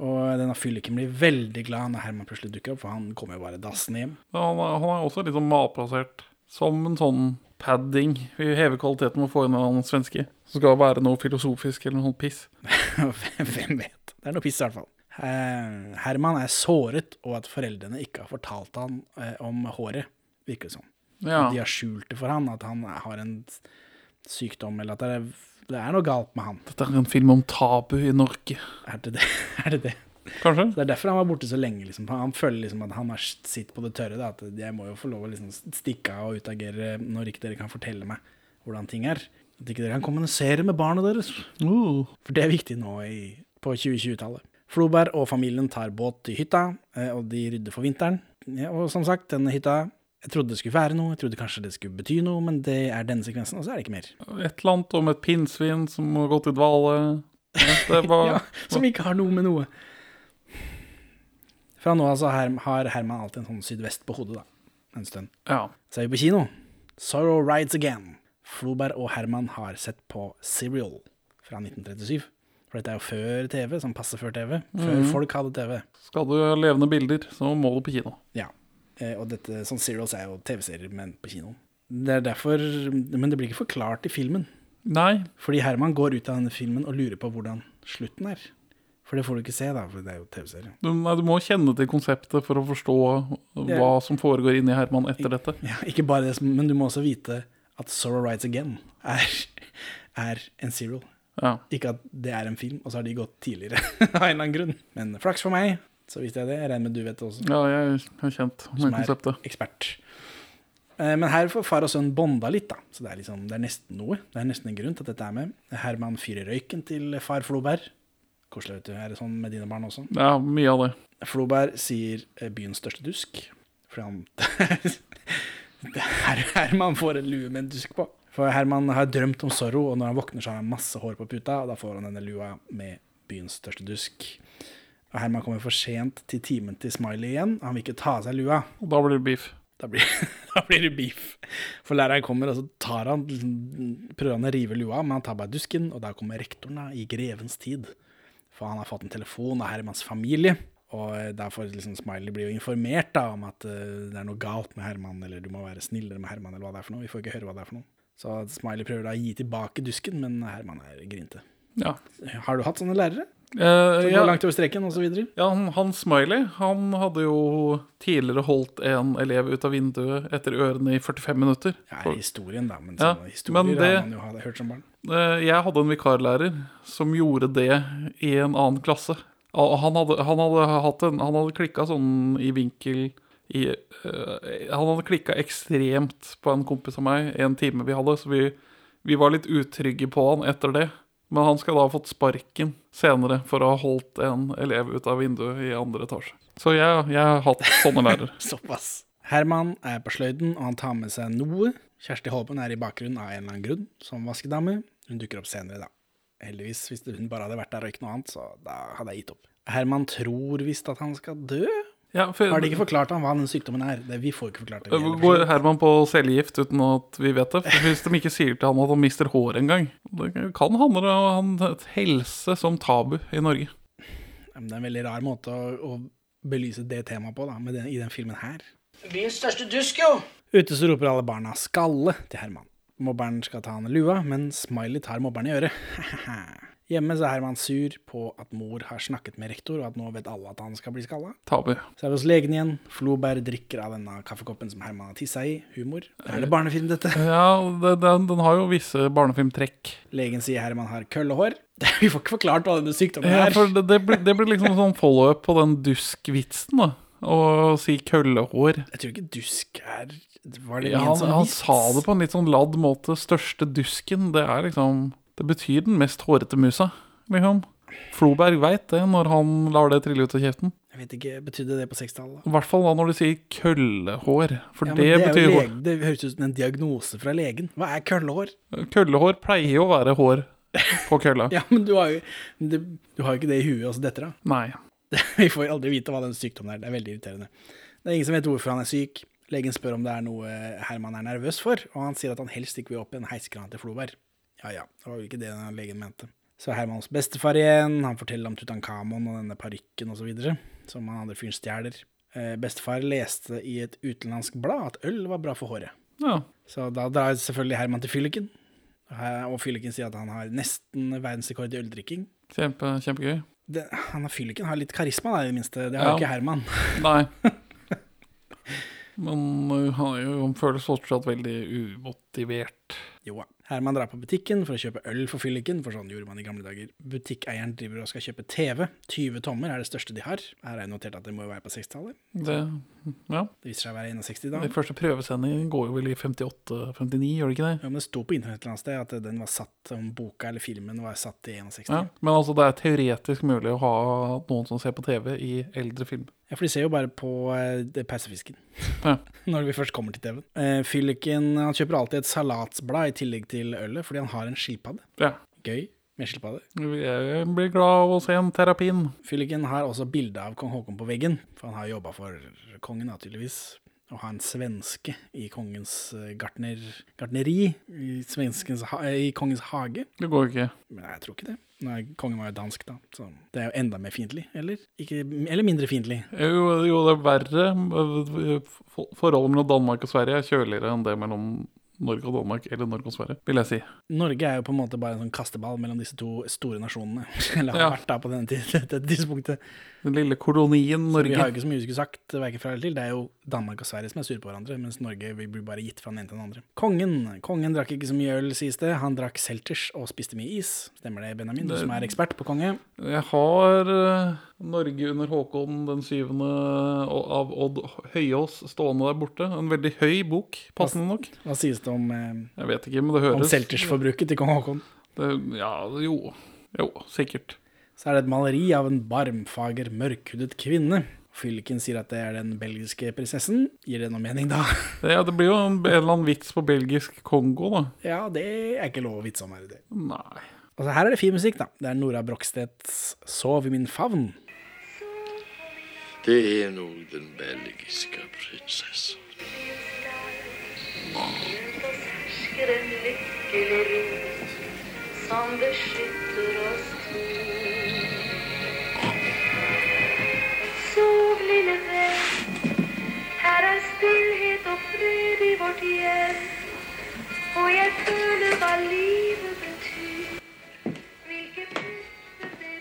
Og denne fylliken blir veldig glad når Herman plutselig dukker opp, for han kommer jo bare dassende hjem.
Men Han er, han er også litt sånn malplassert. Som en sånn padding. Vi hever kvaliteten med å få inn en annen svenske. Som skal være noe filosofisk eller noe sånt piss.
Hvem vet? Det er noe piss i hvert fall. Eh, Herman er såret, og at foreldrene ikke har fortalt han eh, om håret, virker det som.
Ja.
de har skjult det for han, at han har en sykdom, eller at det er, det er noe galt med han.
Dette er en film om tabu i Norge.
Er det det? Er det, det?
Kanskje?
Så det er derfor han var borte så lenge. Liksom. Han føler liksom at han har sitt på det tørre. Da, at jeg må jo få lov å liksom stikke av og utagere når ikke dere kan fortelle meg hvordan ting er. At ikke dere kan kommunisere med barna deres.
Uh.
For det er viktig nå i, på 2020-tallet. Floberg og familien tar båt til hytta, eh, og de rydder for vinteren. Ja, og som sagt, denne hytta Jeg trodde det skulle være noe, jeg trodde kanskje det skulle bety noe, men det er denne sekvensen, og så er det ikke mer.
Et eller annet om et pinnsvin som har gått i dvale. Det var
Ja, som ikke har noe med noe. Fra nå av så har har Herman alltid en sånn sydvest på hodet, da. En stund.
ja.
Så er vi på kino. Sorrow Rides Again. Floberg og Herman har sett på Serial fra 1937. For dette er jo før TV, som passer før TV. Før folk hadde TV.
Skal du ha levende bilder, så må du på kino.
Ja. Eh, Og dette, sånn Serials er jo TV-serier, men på kinoen. Det er derfor Men det blir ikke forklart i filmen.
Nei,
Fordi Herman går ut av denne filmen og lurer på hvordan slutten er. For det får du ikke se, da, for det er jo TV-serie.
du, nei, du må kjenne til konseptet for å forstå hva
Ja.
som foregår inni Herman etter dette.
Ja, ikke bare det, som- men du må også vite at Sorrow Rides Again er, er en serial.
Ja.
Ikke at det er en film, og så har de gått tidligere av en eller annen grunn. Men flaks for meg, så visste jeg det. Jeg regner med du vet det også.
Ja, jeg er kjent med
som er
konseptet.
ekspert. Eh, Men her får far og sønn bonda litt, da. Så det er, liksom, det er nesten noe. Det er nesten en grunn til at dette er med. Herman fyrer røyken til far Floberg. Koselig, vet du. Er det sånn med dine barn også?
Ja, mye av det.
Floberg sier eh, byens største dusk, fordi han Det er Herman får en lue med en dusk på. For Herman har drømt om Zorro, og når han våkner, så har han masse hår på puta, og da får han denne lua med byens største dusk. Og Herman kommer for sent til timen til Smiley igjen, og han vil ikke ta av seg lua.
Og da blir det beef.
Da blir, da blir det beef. For læreren kommer, og så tar han, liksom, prøver han å rive lua, men han tar bare dusken, og da kommer rektoren da, i grevens tid. For han har fått en telefon av Hermans familie, og eh, derfor liksom, Smiley blir jo informert da, om at eh, det er noe galt med Herman, eller du må være snillere med Herman, eller hva det er for noe. Vi får ikke høre hva det er for noe. Så Smiley prøver da å gi tilbake dusken, men Herman er grinte.
Ja.
Har du hatt sånne lærere?
Eh,
Det går
ja,
langt over streken, og så videre.
ja, han, han Smiley han hadde jo tidligere holdt en elev ut av vinduet etter ørene i 45 minutter.
Ja,
For-
historien, da. Men
Ja,
sånne historier
men det-
har man jo hatt- hørt som barn.
Eh, Jeg hadde en vikarlærer som gjorde det i en annen klasse. Og han hadde, han hadde, hatt en- han hadde klikka sånn i vinkel i, eh, Han hadde klikka ekstremt på en kompis av meg en time vi hadde, så vi, vi var litt utrygge på han etter det. Men han skal da ha fått sparken senere for å ha holdt en elev ut av vinduet i andre etasje. Så jeg, jeg har hatt sånne lærere.
Såpass. Herman er på sløyden, og han tar med seg noe. Kjersti Holmen er i bakgrunnen av en eller annen grunn, som vaskedame. Hun dukker opp senere, da. Heldigvis, hvis hun bare hadde vært der og ikke noe annet, så da hadde jeg gitt opp. Herman tror visst at han skal dø.
Ja, for,
Har de ikke forklart ham hva den sykdommen er? Det, vi får ikke forklart det. vi heller.
Eh, Går Herman på cellegift uten at vi vet det? For Hvis de ikke sier til han at han mister håret engang. Det kan handle om han- helse som tabu i Norge.
Men Det er en veldig rar måte å, å belyse det temaet på, da, med den, i den filmen her.
Byens største dusk, jo.
Ute så roper alle barna 'skalle' til Herman. Mobberen skal ta han i lua, men Smiley tar mobberen i øret. Hjemme så er Herman sur på at mor har snakket med rektor, og at nå vet alle at han skal bli skalla.
Tabu.
Så er vi hos legen igjen. Floberg drikker av denne kaffekoppen som Herman har tissa i. Humor. Er det barnefilm, dette?
Ja, det, den, den har jo visse barnefilmtrekk.
Legen sier Herman har køllehår. Vi får ikke forklart hva denne sykdommen
Ja,
er.
for det, det, blir, det blir liksom sånn follow-up på den dusk-vitsen, da. Å si køllehår.
Jeg tror ikke dusk er Var det
Ja,
ment
han,
som
han
vits?
sa det på en litt sånn ladd måte. Største dusken, det er liksom Det betyr den mest hårete musa, liksom. Floberg veit det når han lar det trille ut av kjeften.
Jeg vet ikke, Betydde det på 60-tallet?
I hvert fall da når du sier køllehår. For
Ja, men
det,
det, er
betyr
jo
hår.
lege, det høres ut som en diagnose fra legen. Hva er køllehår?
Køllehår pleier jo å være hår på kølla.
Ja, men du har jo, men det, du har jo ikke det i huet, og så detter det av.
Nei.
Vi får aldri vite hva den sykdommen er. Det er veldig irriterende. Det er ingen som vet hvorfor han er syk. Legen spør om det er noe Herman er nervøs for, og han sier at han helst ikke vil opp i en heiskran til Floberg. Ja ja, det var jo ikke det den legen mente. Så er Herman hos bestefar igjen, han forteller om Tutankhamon og denne parykken osv., som han andre fyren stjeler. Eh, Bestefar leste i et utenlandsk blad at øl var bra for håret.
Ja.
Så da drar selvfølgelig Herman til fylliken. Eh, Og fylliken sier at han har nesten verdensrekord i øldrikking.
Kjempe, kjempegøy.
Det, han har fylliken har litt karisma, da, i det minste. Det har
Ja.
jo ikke Herman.
Nei. Men øh, han, er jo- han føles fortsatt veldig umotivert.
Jo da. Herman drar på butikken for å kjøpe øl for fylliken, for sånn gjorde man i gamle dager. Butikkeieren driver og skal kjøpe TV. 20 tommer er det største de har. Her har jeg notert at det må jo være på 60-tallet.
Det, ja.
Det viser seg å være 61 da.
Den første prøvesendingen går jo vel i 58-59, gjør det ikke det?
Ja, men det sto på internett et eller annet sted at den var satt, om boka eller filmen var satt i 61.
Ja. Men altså, det er teoretisk mulig å ha noen som ser på TV i eldre film.
Ja, for de ser jo bare på eh, det persefisken.
Ja.
Når vi først kommer til TV-en. Eh, Fylliken han kjøper alltid et salatsblad i tillegg til ølet, fordi han har en skilpadde.
ja.
Gøy med skilpadde.
Jeg blir glad av å se en terapin.
Fylliken har også bilde av kong Haakon på veggen, for han har jobba for kongen, da, tydeligvis. Og har en svenske i kongens eh, gartner, gartneri, i, svenskens, ha- eh, i kongens hage.
Det går jo ikke.
Men jeg tror ikke det. Nei, kongen var jo dansk, da, så det er jo enda mer fiendtlig. Eller? Ikke, eller mindre fiendtlig.
Jo, jo, det er verre. For- Forholdet mellom Danmark og Sverige er kjøligere enn det mellom Norge og Danmark, eller Norge og Sverige, vil jeg si.
Norge er jo på en måte bare en sånn kasteball mellom disse to store nasjonene. Eller har
Ja.
vært da på denne tid, dette tidspunktet.
Den lille kolonien
Vi har
Norge.
jo ikke så mye vi skulle sagt hverken fra eller til. Det er jo Danmark og Sverige som er sure på hverandre, mens Norge vi blir bare gitt fra den ene til den andre. Kongen kongen drakk ikke så mye øl, sies det. Han drakk selters og spiste mye is. Stemmer det, Benjamin? Du som er ekspert på konge.
Jeg har eh, Norge under Håkon den syvende og- av Odd Høyås stående der borte. En veldig høy bok, passende nok.
Hva sies det om, eh,
Jeg vet ikke, men det
om
høres
seltersforbruket til kong Haakon?
det, Ja, jo. Jo, sikkert.
Så er det et maleri av en barmfager, mørkhudet kvinne. Fylken sier at det er den belgiske prinsessen. Gir det noe mening, da?
Det, ja, det blir jo en, en eller annen vits på belgisk Kongo, da.
Ja, det er ikke lov å vitse om her i det.
Nei.
Altså, her er det fin musikk, da. Det er Nora Brokstedts 'Sov i min favn'.
Det er nok den belgiske prinsessen.
ønsker en lykkelig rus som beskytter oss to. Sov, lille venn, her er stillhet og fred i vårt hjem. Og jeg føler hva livet betyr, hvilke puster det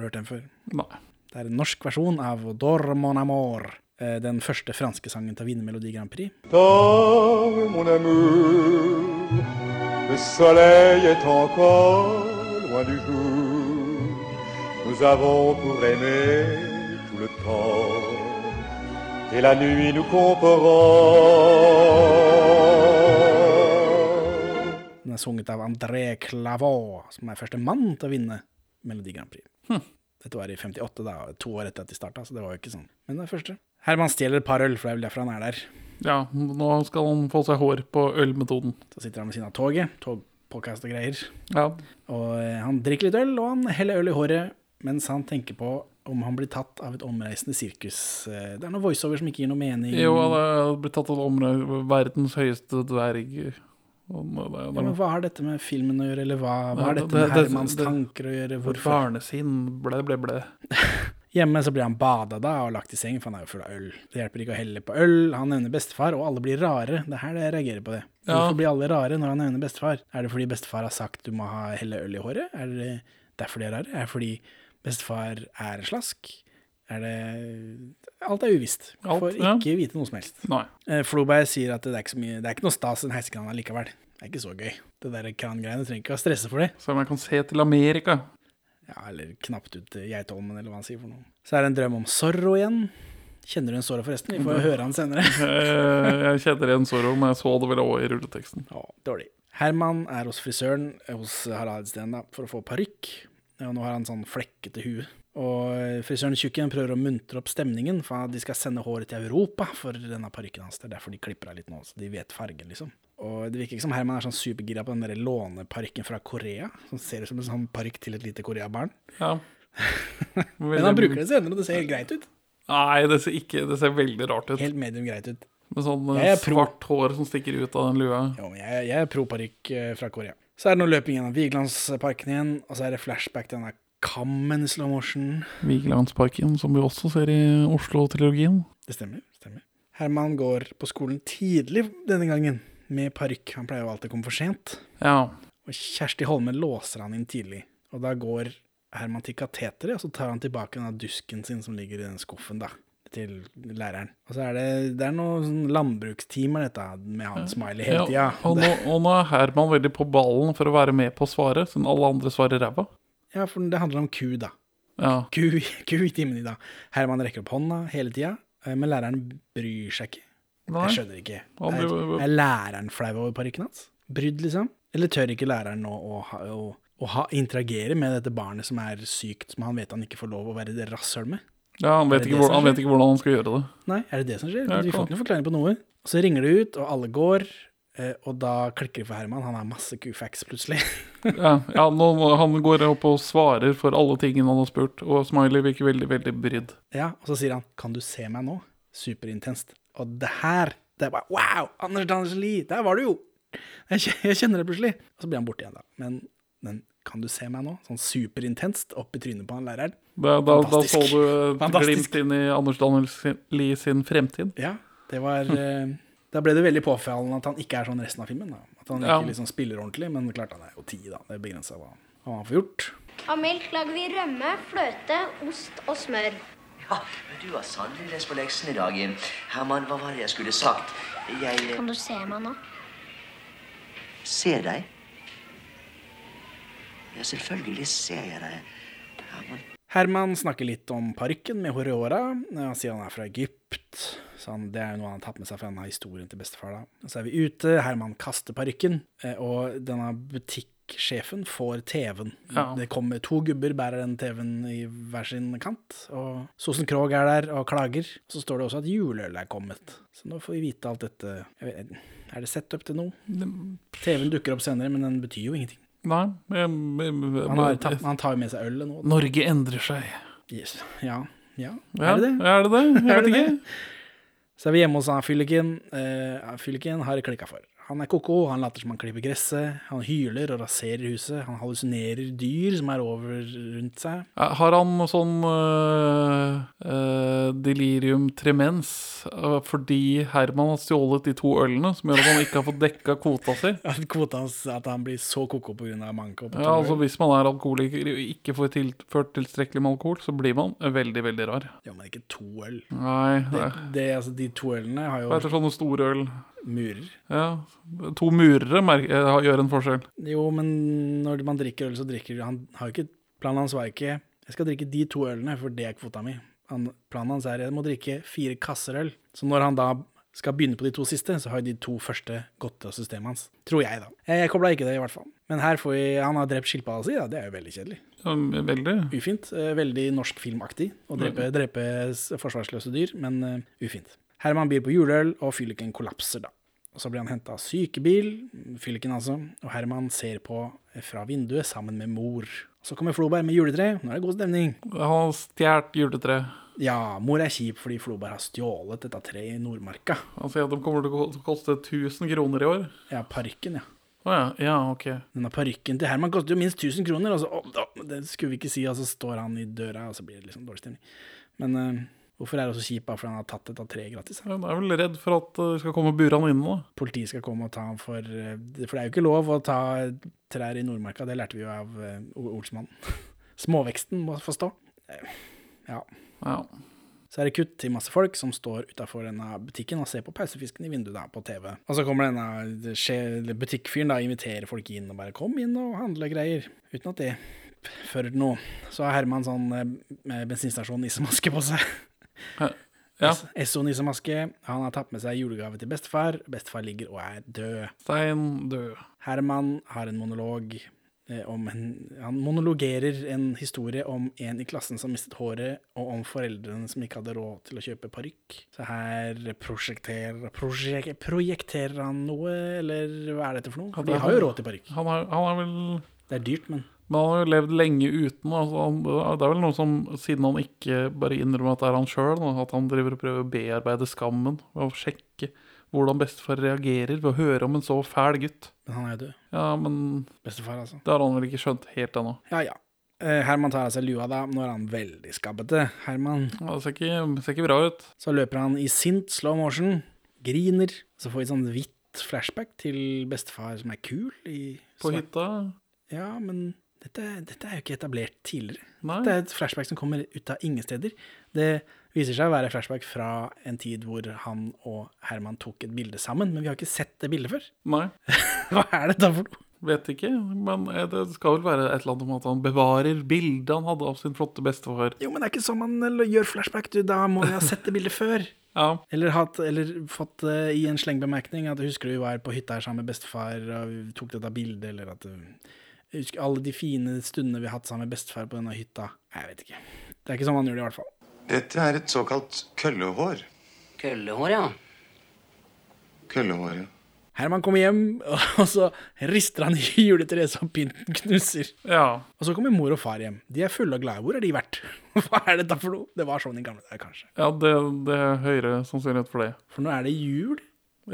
vil.
før.
Nei.
Det er en norsk versjon av Dor mon amour, eh, den første franske sangen til å vinne Melodi Grand Prix.
Dors, mon amour, le soleil est encore loin du jour. Nous avons pour aimer tout le temps, et la nuit nous comprend.
Den er sunget av André Clavaux, som er første mann til å vinne Melodi Grand Prix. Dette var i 58, da, to år etter at de starta, så det var jo ikke sånn. Men det er første. Herman stjeler et par øl, for det er vel derfor han er der.
Ja, nå skal han få seg hår på ølmetoden.
Så sitter han ved siden av toget, togpåkast og greier.
Ja.
Og eh, han drikker litt øl, og han heller øl i håret mens han tenker på om han blir tatt av et omreisende sirkus. Eh, Det er noen voiceover som ikke gir noe mening.
Jo, han er blitt tatt av omre- verdens høyeste dverg. Han er- det er-
Ja, men hva har dette med filmen å gjøre, eller hva, hva har
Ja,
dette
det-
med
det-
Hermans
det-
tanker å gjøre? Hvorfor?
Barnesinn, ble, ble, ble.
Hjemme så blir han bada da og lagt i seng, for han er jo full av øl. Det hjelper ikke å helle på øl. Han nevner bestefar, og alle blir rare. Det er her jeg reagerer på det.
Ja.
Hvorfor blir alle rare når han nevner bestefar? Er det fordi bestefar har sagt du må ha helle øl i håret? Er det derfor de er rare? Er det fordi bestefar er slask? Er det Alt er uvisst. Man
Alt,
Får
ja.
ikke vite noe som helst.
Nei.
Eh, Floberg sier at det er ikke, så mye, det er ikke noe stas i den heisekranen likevel. Det er ikke så gøy. Det der krangreiene trenger ikke å stresse for det.
Selv om jeg kan se til Amerika.
Ja, eller knapt ut til Geitholmen, eller hva han sier for noe. Så er det en drøm om Zorro igjen. Kjenner du en Zorro, forresten? Vi får jo høre han senere.
Eh, Jeg kjenner igjen Zorro, men jeg så det vel også i rulleteksten.
Ja, dårlig. Herman er hos frisøren eh, hos Harald Steen da, for å få parykk. Og nå har han sånn flekkete hue. Og frisøren Tjukken prøver å muntre opp stemningen, for de skal sende håret til Europa for denne parykken hans. Det er derfor de klipper av litt nå, så de vet fargen, liksom. Og det virker ikke som Herman er sånn supergira på den der låneparykken fra Korea, som ser ut som en sånn parykk til et lite koreabarn.
Ja.
Men han bruker det senere, og det ser helt greit ut.
Nei, det ser, ikke, det ser veldig rart ut.
Helt medium greit ut.
Med sånn
Jeg
eh,
er pro.
svart hår som stikker ut av den lua.
Jo, men jeg, jeg er pro parykk eh, fra Korea. Så er det noe løping gjennom Vigelandsparken igjen, og så er det flashback til denne kammen i slow motion.
Vigelandsparken, som vi også ser i Oslo-trilogien.
Det stemmer. stemmer. Herman går på skolen tidlig denne gangen, med parykk. Han pleier jo alltid å komme for sent.
Ja.
Og Kjersti Holme låser han inn tidlig. Og da går Herman til kateteret, og så tar han tilbake denne dusken sin som ligger i den skuffen, da. Til læreren. Og så er det, det er noen sånn landbrukstimer, dette, med han smiley hele tida.
Ja, og, nå, og nå er Herman veldig på ballen for å være med på å svare, siden alle andre svarer ræva.
Ja, for det handler om ku, da.
Ja.
ku, ku i timen i dag. Herman rekker opp hånda hele tida, eh, men læreren bryr seg ikke. Jeg
Nei.
skjønner ikke.
Han
Er,
blir-
er læreren flau over parykken hans? Brydd, liksom? Eller tør ikke læreren nå å, ha- å, å ha, interagere med dette barnet som er sykt, som han vet han ikke får lov å være det rasshøl med?
Ja, han
Er
vet,
det
ikke
det
hvor,
som
han vet ikke hvordan han skal gjøre det.
Nei, er det det som skjer?
Ja,
Vi får
klart.
ikke noen forklaring på noe. Så ringer det ut, og alle går, eh, og da klikker det for Herman. Han har masse kufax plutselig.
Ja, ja nå, nå- Han går opp og svarer for alle tingene han har spurt, og Smiley virker veldig veldig brydd.
Ja, og så sier han 'Kan du se meg nå?' Superintenst. Og det her det er bare Wow! Anders Danielsen Lie, der var du jo! Jeg, kje- jeg kjenner det plutselig. Og så blir han borte igjen, da. Men den 'Kan du se meg nå?' sånn superintenst opp i trynet på han læreren.
Da, da, da så
Fantastisk.
du et
Fantastisk.
glimt inn i Anders Danielsen Lie sin fremtid.
Ja, det var eh, Da ble det veldig påfallende at han ikke er sånn resten av filmen. da. At han
Ja.
ikke liksom spiller ordentlig, men klart han er jo ti, da. Det er begrensa hva hva han får gjort.
Av melk lager vi rømme, fløte, ost og smør.
Ja, men du har sannelig lest på leksen i dag, Jim. Herman, hva var det jeg skulle sagt? Jeg eh,
Kan du se meg nå?
ser deg. Ja, selvfølgelig ser jeg deg, Herman.
Herman snakker litt om parykken med hår i håra. Han sier han er fra Egypt, så han, det er jo noe han har tatt med seg fra denne historien til bestefar. da. Og Så er vi ute, Herman kaster parykken, eh, og denne butikksjefen får TV-en.
Ja.
Det kommer to gubber, bærer den TV-en i hver sin kant, og Sosen Krog er der og klager. Så står det også at juleøl er kommet. Så nå får vi vite alt dette. Jeg vet, er det sett opp til noe? TV-en dukker opp senere, men den betyr jo ingenting.
Nei em, em, em,
Han, har, tatt- han tar jo med seg ølet nå.
Norge endrer seg.
Yes. Ja. Ja.
Ja,
er det det?
Er det det? Jeg
Er
vet
det
ikke.
Så er vi hjemme hos han fylliken. Eh, fylliken har klikka for. Han er koko, han later som han klipper gresset, han hyler og raserer huset, han hallusinerer dyr som er over rundt seg.
Har han sånn øh, øh, delirium tremens eh, fordi Herman har stjålet de to ølene, som gjør at han ikke har fått dekka kvota si.
At kvota hans At han blir så koko pga. manko. på
Ja,
to
altså
øl.
Hvis man er alkoholiker og ikke får tilført tilstrekkelig med alkohol, så blir man veldig, veldig rar.
Ja, men ikke to øl.
Nei, det
Det, det, altså, de to ølene har jo
Hva heter sånne store øl?
murer.
Ja, To murere mer eh, gjør en forskjell.
Jo, men når man drikker øl, så drikker du han har jo ikke, Planen hans var ikke 'jeg skal drikke de to ølene, for det er kvota mi'. Han, planen hans er 'jeg må drikke fire kasser øl'. Så når han da skal begynne på de to siste, så har jo de to første gått av systemet hans. Tror jeg, da. Jeg kobla ikke det, i hvert fall. Men her får vi Han har drept skilpadda si, da. Det er jo veldig kjedelig.
Ja, veldig.
Ufint. eh, Veldig norsk filmaktig. Å drepe, drepe s- forsvarsløse dyr, men eh, ufint. Herman byr på juleøl, og fylliken kollapser da. Og Så blir han henta av sykebil, fylliken altså, og Herman ser på eh, fra vinduet sammen med mor. Så kommer Floberg med juletre, nå er det god stemning.
Han har stjålet juletreet.
Ja, mor er kjip fordi Floberg har stjålet dette treet i Nordmarka.
Han sier at Altså, de kommer til å ko- koste 1000 kroner i år.
Ja, parken, ja.
Å ja, ja, ok.
Denne parykken til Herman koster jo minst 1000 kroner, og så å, da, det skulle vi ikke si, og så står han i døra, og så blir det liksom dårlig stemning. Men eh, hvorfor er det så kjipt bare fordi han har tatt dette treet gratis?
Han er vel redd for at eh, de skal komme og bure han inne, da.
Politiet skal komme og ta ham for eh, For det er jo ikke lov å ta trær i Nordmarka, det lærte vi jo av eh, o- ordsmannen. Småveksten må få stå. Eh, Ja.
Ja.
Så er det kutt til masse folk som står utafor denne butikken og ser på pausefisken i vinduet da, på TV. Og så kommer denne skje- eller butikkfyren da, og inviterer folk inn og bare 'kom inn og handle greier', uten at det fører til noe. Så har Herman sånn eh, bensinstasjon-nissemaske på seg.
ja.
Esso-nissemaske. Han har tatt med seg julegave til bestefar. Bestefar ligger og er død.
Stein død.
Herman har en monolog eh, om en, Han monologerer en historie om en i klassen som mistet håret, og om foreldrene som ikke hadde råd til å kjøpe parykk. Så her prosjekterer, prosjek, projekterer han noe, eller hva er dette for noe? For de har jo råd til parykk.
Han er, han er vel
Det er dyrt, men
Men han har jo levd lenge uten. Altså han, det er vel noe som, Siden han ikke bare innrømmer at det er han sjøl, at han driver og prøver å bearbeide skammen ved å sjekke hvordan bestefar reagerer ved å høre om en så fæl gutt.
men han er jo død.
Ja, men
Bestefar, altså.
det har han vel ikke skjønt helt ennå.
Ja, ja. Eh, Herman tar av seg lua da. Nå er han veldig skabbete. Herman
Ja, Det ser ikke, det ser ikke bra ut.
Så løper han i sint slow motion, griner. Så får vi et sånn hvitt flashback til bestefar som er kul. I
På
svart-
hytta?
Ja, men dette, dette er jo ikke etablert tidligere.
Nei.
Det er et flashback som kommer ut av ingen steder. Det viser seg å være flashback fra en tid hvor han og Herman tok et bilde sammen, men vi har ikke sett det bildet før.
Nei.
Hva er dette for noe?
Vet ikke, men eh, det skal vel være et eller annet om at han bevarer bildet han hadde av sin flotte bestefar.
Jo, men det er ikke sånn man l- gjør flashback, du. Da må vi ha sett det bildet før.
Ja,
Eller, hatt, eller fått eh, i en slengbemerkning at husker du vi var på hytta her sammen med bestefar og vi tok dette bildet, eller at eh, husker alle de fine stundene vi har hatt sammen med bestefar på denne hytta. Nei, Jeg vet ikke. Det er ikke sånn man gjør det, i hvert fall.
Dette er et såkalt køllehår.
Køllehår, ja.
Køllehår, ja.
Herman kommer hjem, og så rister han i juletreet så pynten knuser.
ja.
Og så kommer mor og far hjem. De er fulle og glade. Hvor har de vært? Hva er dette for noe? Det var sånn i gamle dager, kanskje.
ja det, det er høyere sannsynlighet for det.
For nå er det jul.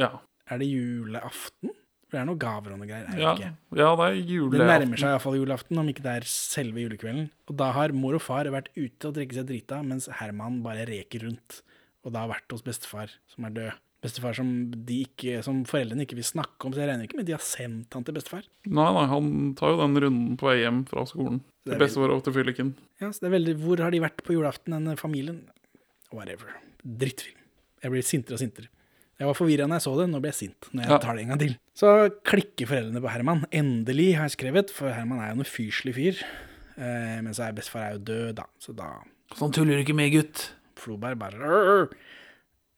Ja.
Er det julaften? For det er noen gaver og noe greier. Er det
Ja,
ikke?
ja det er
Det nærmer
juleaften.
seg iallfall julaften, om ikke det er selve julekvelden. Og da har mor og far vært ute og drikke seg drita, mens Herman bare reker rundt. Og da har vært hos bestefar, som er død. Bestefar som, de ikke, som foreldrene ikke vil snakke om, så jeg regner ikke med de har sendt han til bestefar.
Nei, nei, han tar jo den runden på vei hjem fra skolen.
Det er
Til bestefar og til fylliken.
Ja, så det er veldig, Hvor har de vært på julaften, denne familien? Whatever. Drittfilm. Jeg blir sintere og sintere. Jeg var forvirra når jeg så det, nå blir jeg sint når jeg
Ja.
tar det en gang til. Så klikker foreldrene på Herman. Endelig, har jeg skrevet, for Herman er jo en ufyselig fyr. Eh, men så er bestefar er jo død, da. Så da
Sånn tuller du ikke med, gutt.
Floberg bare «Rrr!»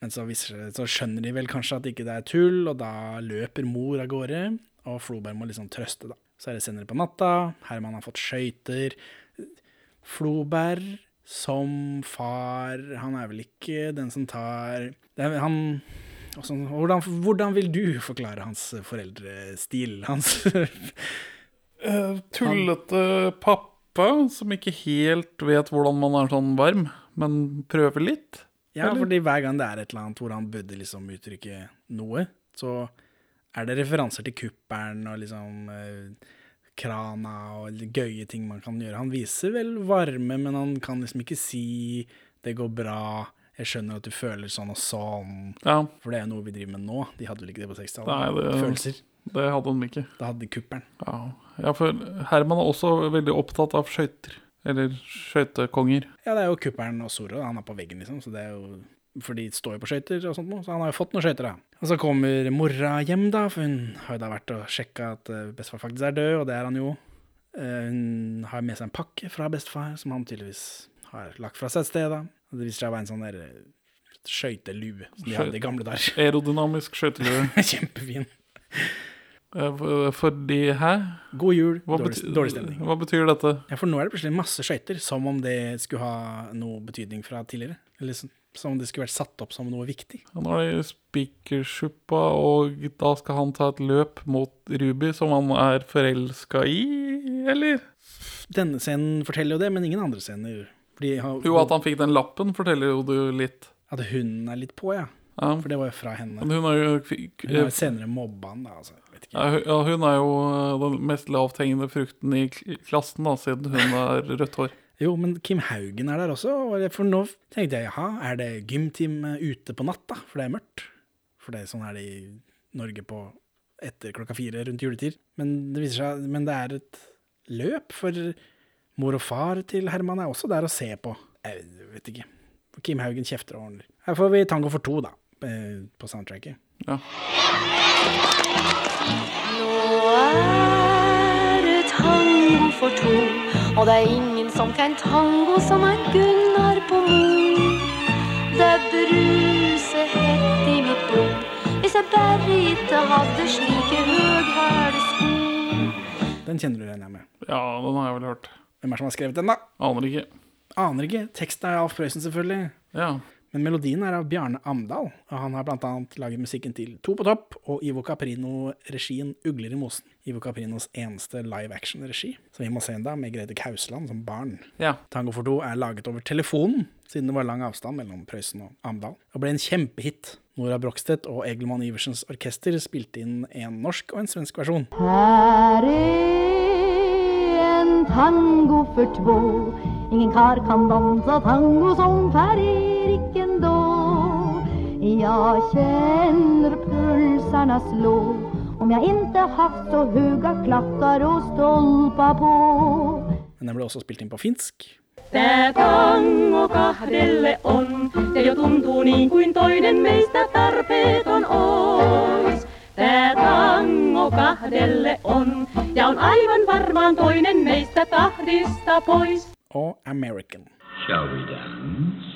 Men så, viser, det- så skjønner de vel kanskje at ikke det er tull, og da løper mor av gårde, og Floberg må liksom trøste, da. Så er det senere på natta, Herman har fått skøyter. Floberg som far, han er vel ikke den som tar det er, vel- Han også, hvordan, hvordan vil du forklare hans foreldrestil? Hans
tullete pappa som ikke helt vet hvordan man er sånn varm, men prøver litt.
Ja, fordi hver gang det er et eller annet hvor han burde liksom uttrykke noe, så er det referanser til kuppelen og liksom eh, krana og gøye ting man kan gjøre. Han viser vel varme, men han kan liksom ikke si 'det går bra', Jeg skjønner at du føler sånn og sånn,
Ja,
for det er jo noe vi driver med nå. De hadde vel ikke det på 60-tallet?
Nei, det-
Følelser.
det hadde han ikke.
Da hadde de kuppelen.
Ja. ja, for Herman er også veldig opptatt av skøyter. Eller skøytekonger.
Ja, det er jo kuppelen og Zorro. Han er på veggen, liksom. Så det er jo For de står jo på skøyter og sånt noe, så han har jo fått noen skøyter, da. Og så kommer mora hjem, da, for hun har jo da vært og sjekka at eh, bestefar faktisk er død, og det er han jo. Eh, Hun har med seg en pakke fra bestefar, som han tydeligvis har lagt fra seg et sted, da. Og det viser seg å være en sånn der eh, skøytelue som de hadde i gamle dager.
Aerodynamisk skøytelue.
Kjempefin.
Eh, for- Fordi hæ?
God jul,
Hva
dårlig,
bety-
dårlig stemning.
Hva betyr dette?
Ja, for nå er det plutselig masse skøyter, som om det skulle ha noe betydning fra tidligere. Eller som- som om det skulle vært satt opp som noe viktig.
Ja, Nå er det spikersuppa, og da skal han ta et løp mot Ruby, som han er forelska i, eller?
Denne scenen forteller jo det, men ingen andre scener. Fordi han,
Jo, at han fikk den lappen, forteller jo du litt.
at hunden er litt på, ja.
Ja.
For det var jo fra henne.
Men hun er jo fikk,
Hun har jo senere mobba han, da. Altså. Jeg Vet ikke.
ja, hun- ja, hun er jo eh, den mest lavthengende frukten i kl- klassen, da, siden hun har rødt hår.
Jo, men Kim Haugen er der også. og jeg- For nå tenkte jeg jaha, er det gymtime ute på natta? For det er mørkt. For det er sånn er det i Norge på etter klokka fire rundt juletider. Men det viser seg Men det er et løp, for mor og far til Herman er også der å se på. Jeg vet ikke. Kim Haugen kjefter og ordner. Her får vi Tango for to, da, eh, på soundtracket.
Ja.
Nå er det tango for to, og det er ingen som kan tango som en Gunnar på Mo. Det bruser hett i mitt blod, hvis jeg bare ikke hadde slike høghæle sko.
Den kjenner du regner jeg med.
ja, den har jeg vel hørt.
Hvem er det som har skrevet den, da?
Aner ikke.
Aner ikke. Teksten er Alf Prøysen, selvfølgelig.
Ja.
Men melodien er av Bjarne Amdal, og han har blant annet laget musikken til To på topp og Ivo Caprino-regien Ugler i mosen. Ivo Caprinos eneste live action-regi, som vi må se en dag, med Grete Kausland som barn.
ja.
Tango for to er laget over telefonen, siden det var lang avstand mellom Prøysen og Amdal, og ble en kjempehit. Nora Brogstedt og Egelmann Iversens orkester spilte inn en norsk og en svensk versjon.
Her er en tango for två, ingen kar kan dansa tango som Per Eriken då. Jag känner pulsarna slå, om jag inte haft så höga klackar och stolpar på.
Men den ble også spilt inn på finsk,
Tää tango kahdelle on, se jo tuntuu niin kuin toinen meistä tarpeeton ois. Tää tango kahdelle on, ja on aivan varmaan toinen meistä tahdista pois.
og American.
Shall we dance?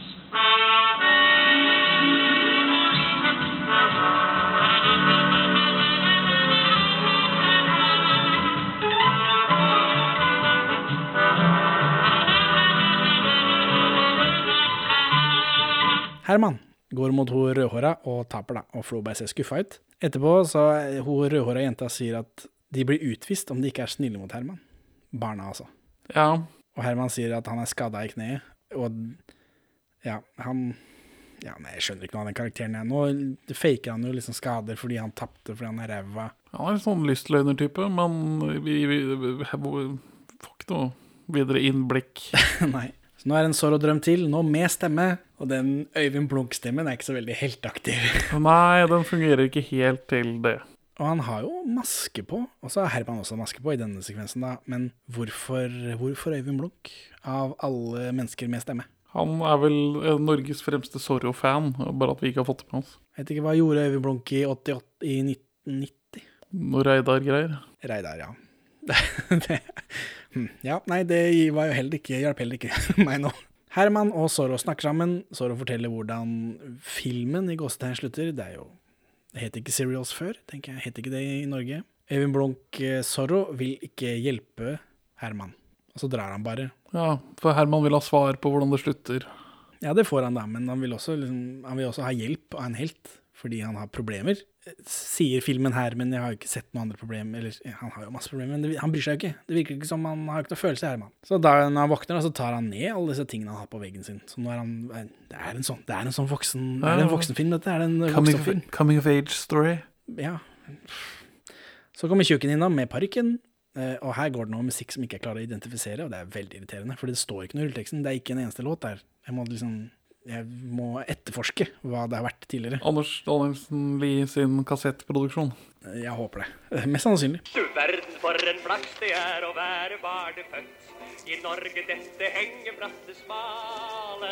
Herman går mot hun rødhåra og taper, da, og Floberg ser skuffa ut. Etterpå så er hun rødhåra jenta sier at de blir utvist om de ikke er snille mot Herman. Barna, altså.
ja.
Og Herman sier at han er skada i kneet, og ja, han ja, nei, Jeg skjønner ikke noe av den karakteren jeg nå. Faker han jo liksom skader fordi han tapte fordi han er ræva.
Han er en sånn lystløgner-type, men vi, vi, vi får ikke noe videre innblikk.
nei. Så nå er det en sorg og drøm til, nå med stemme. Og den Øyvind Blunk-stemmen er ikke så veldig helteaktiv.
Nei, den fungerer ikke helt til det.
Og han har jo maske på, og så har Herman også maske på i denne sekvensen, da. Men hvorfor, hvorfor Øyvind Blunk? Av alle mennesker med stemme.
Han er vel eh, Norges fremste Zorro-fan, bare at vi ikke har fått det med oss.
Jeg vet ikke hva gjorde Øyvind Blunk i, 88, i 1990?
Når Reidar greier.
Reidar, ja. det, hm, ja, nei, det var jo heller ikke, hjalp heller ikke meg nå. Herman og Zorro snakker sammen. Zorro forteller hvordan filmen i Gåstein slutter. Det er jo Det het ikke Serials før, tenker jeg. Het ikke det i Norge. Øyvind Blunk eh, Zorro vil ikke hjelpe Herman, og så drar han bare.
Ja, for Herman vil ha svar på hvordan det slutter.
Ja, det får han da, men han vil også, liksom, han vil også ha hjelp av en helt, fordi han har problemer. Eh, Sier filmen her, men jeg har jo ikke sett noen andre problemer. Eller, eh, han har jo masse problemer, men det, han bryr seg jo ikke. Det virker ikke som han har ikke noe følelse, Herman. Så da når han våkner, da, så tar han ned alle disse tingene han har på veggen sin. Så nå er han er- Det er en sånn, det er en sånn voksen, er det en voksenfilm, dette? Er det en
Coming,
voksenfilm?
coming of age-story.
Ja. Så kommer tjukken innom med parykken, eh, og her går det noe musikk som ikke jeg klarer å identifisere, og det er veldig irriterende, for det står ikke noe i rulleteksten. Det er ikke en eneste låt der. Jeg må liksom jeg må etterforske hva det har vært tidligere.
Anders Danielsen Lie sin kassettproduksjon.
Jeg håper det. Eh, Mest sannsynlig.
Du verden for en flaks det er å være barnefødt. I Norge dette hengebratte smale.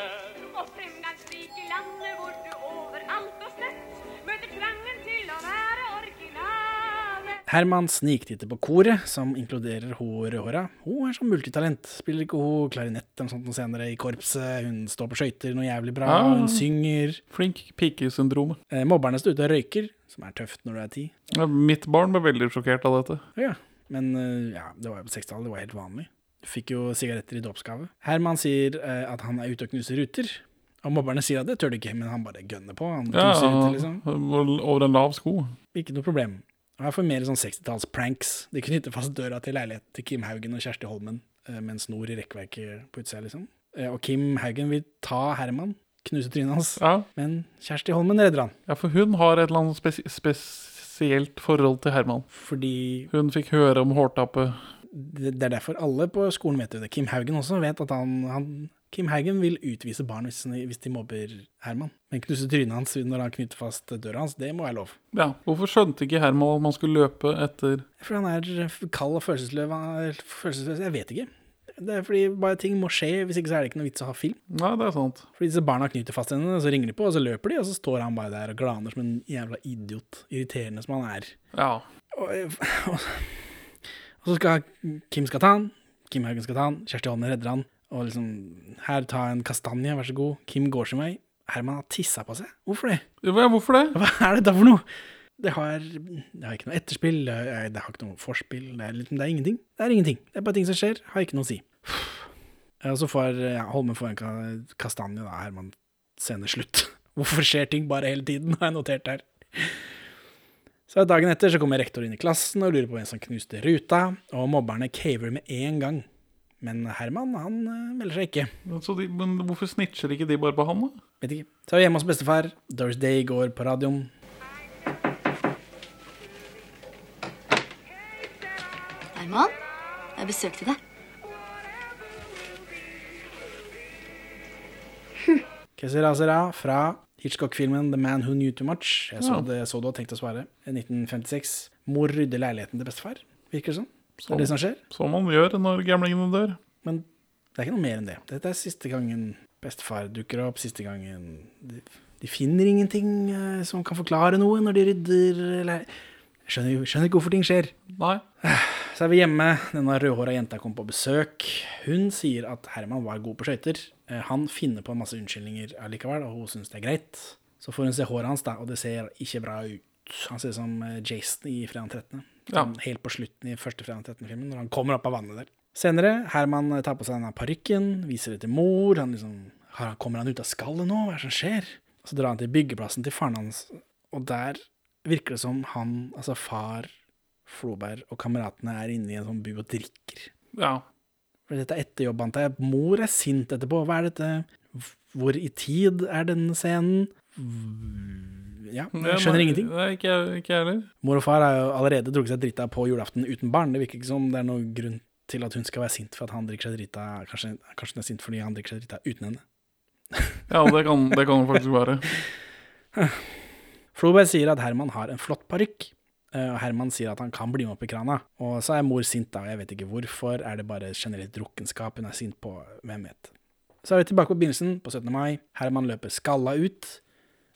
Og fremgangsrike landet hvor du overalt og slett møter trangen til å være originale.
Herman sniktitter på koret, som inkluderer hun rødhåra. Hun er sånn multitalent. Spiller ikke hun klarinett eller sånt noe senere i korpset? Hun står på skøyter noe jævlig bra,
Ah.
hun synger.
Flink pikesyndromet.
Eh, Mobberne står ute og røyker, som er tøft når du er ti.
Ja, Mitt barn ble veldig sjokkert av dette.
Ja, men eh, ja, det var jo på 60-tallet, det var helt vanlig. Du fikk jo sigaretter i dåpsgave. Herman sier eh, at han er ute og knuser ruter. Og mobberne sier at det tør du ikke, men han bare gønner på. Han
Ja,
knuser ruter, liksom.
Over en lav sko.
Ikke noe problem. Og her får vi mer sånn 60-talls-pranks. De knytter fast døra til leiligheten til Kim Haugen og Kjersti Holmen eh, med en snor i rekkverket på utsida, liksom. Eh, Og Kim Haugen vil ta Herman, knuse trynet hans,
Ja.
men Kjersti Holmen redder han.
Ja, for hun har et eller annet spes spesielt forhold til Herman.
Fordi
Hun fikk høre om hårtappet.
det det er derfor alle på skolen vet jo det. Kim Haugen også vet at han, han Kim Haugen vil utvise barn hvis, hvis de mobber Herman. Men knuse trynet hans når han knytter fast døra hans, det må være lov.
Ja, Hvorfor skjønte ikke Herman at man skulle løpe etter
Fordi han er f- kald og følelsesløs. han er følelsesløs. Jeg vet ikke. Det er fordi bare ting må skje, hvis ikke så er det ikke noe vits å ha film.
Nei, det er sant.
Fordi disse barna knyter fast hendene, så ringer de på, og så løper de, og så står han bare der og glaner som en jævla idiot. Irriterende som han er.
Ja.
Og, eh, og, og så skal Kim skal ta han, Kim Haugen skal ta han, Kjersti Holmen redder han, og liksom Her, ta en kastanje, vær så god. Kim går sin vei. Herman har tissa på seg. Hvorfor det?
Ja, Hvorfor det?
Hva er dette for noe? Det har, det har ikke noe etterspill, det har, det har ikke noe forspill, det er, liksom- det er ingenting. Det er ingenting. Det er bare ting som skjer, har ikke noe å si. Og så får ja, Holmen får en ka- kastanje, da, Herman sender slutt. Hvorfor skjer ting bare hele tiden, har jeg notert her. Så dagen etter så kommer rektor inn i klassen og lurer på hvem som knuste ruta, og mobberne caver med en gang. Men Herman, han eh, melder seg ikke.
Men, så de, men hvorfor snitcher ikke de bare på han, da?
Vet ikke. Så er vi hjemme hos bestefar. Doris Day går på radioen.
Herman, jeg besøkte deg.
Kesera Sera fra Hitchcock-filmen The Man Who Knew Too Much. Jeg så,
Ja.
det, jeg så det og tenkte å svare. 1956. Mor rydder leiligheten til bestefar, virker det som. Det er det som skjer.
Som man gjør når gamlingene dør.
Men det er ikke noe mer enn det. Dette er siste gangen bestefar dukker opp. Siste gangen De, de finner ingenting eh, som kan forklare noe når de rydder eller Jeg skjønner, jo- skjønner ikke hvorfor ting skjer.
Nei.
Så er vi hjemme. Denne rødhåra jenta kom på besøk. Hun sier at Herman var god på skøyter. Eh, Han finner på en masse unnskyldninger allikevel, og hun syns det er greit. Så får hun se håret hans, da, og det ser ikke bra ut. Han ser ut som eh, Jason i Fredag den 13.
Ja.
Sånn Helt på slutten i første Fredag den 13.-filmen, når han kommer opp av vannet der. Senere, Herman eh, tar på seg denne parykken, viser det til mor. Han liksom, har- Kommer han ut av skallet nå? Hva er det som skjer? Så drar han til byggeplassen til faren hans, og der virker det som han, altså far Floberg og kameratene er inne i en sånn bu og drikker.
Ja.
For dette er etter jobb, antar jeg. Mor er sint etterpå. Hva er dette? H- Hvor i tid er denne scenen? V- Ja, jeg skjønner
Nei,
ingenting.
Nei, ikke jeg ikke jeg heller.
Mor og far har jo allerede drukket seg drita på julaften uten barn. Det virker ikke som det er noen grunn til at hun skal være sint for at han drikker seg drita. Kanskje, kanskje hun er sint fordi han drikker seg drita uten henne.
Ja, det kan det kan det faktisk være.
Floberg sier at Herman har en flott parykk, eh, og Herman sier at han kan bli med opp i krana. Og så er mor sint, da, og jeg vet ikke hvorfor. Er det bare generelt drukkenskap hun er sint på? Hvem vet. Så er vi tilbake på begynnelsen, på 17. mai. Herman løper skalla ut.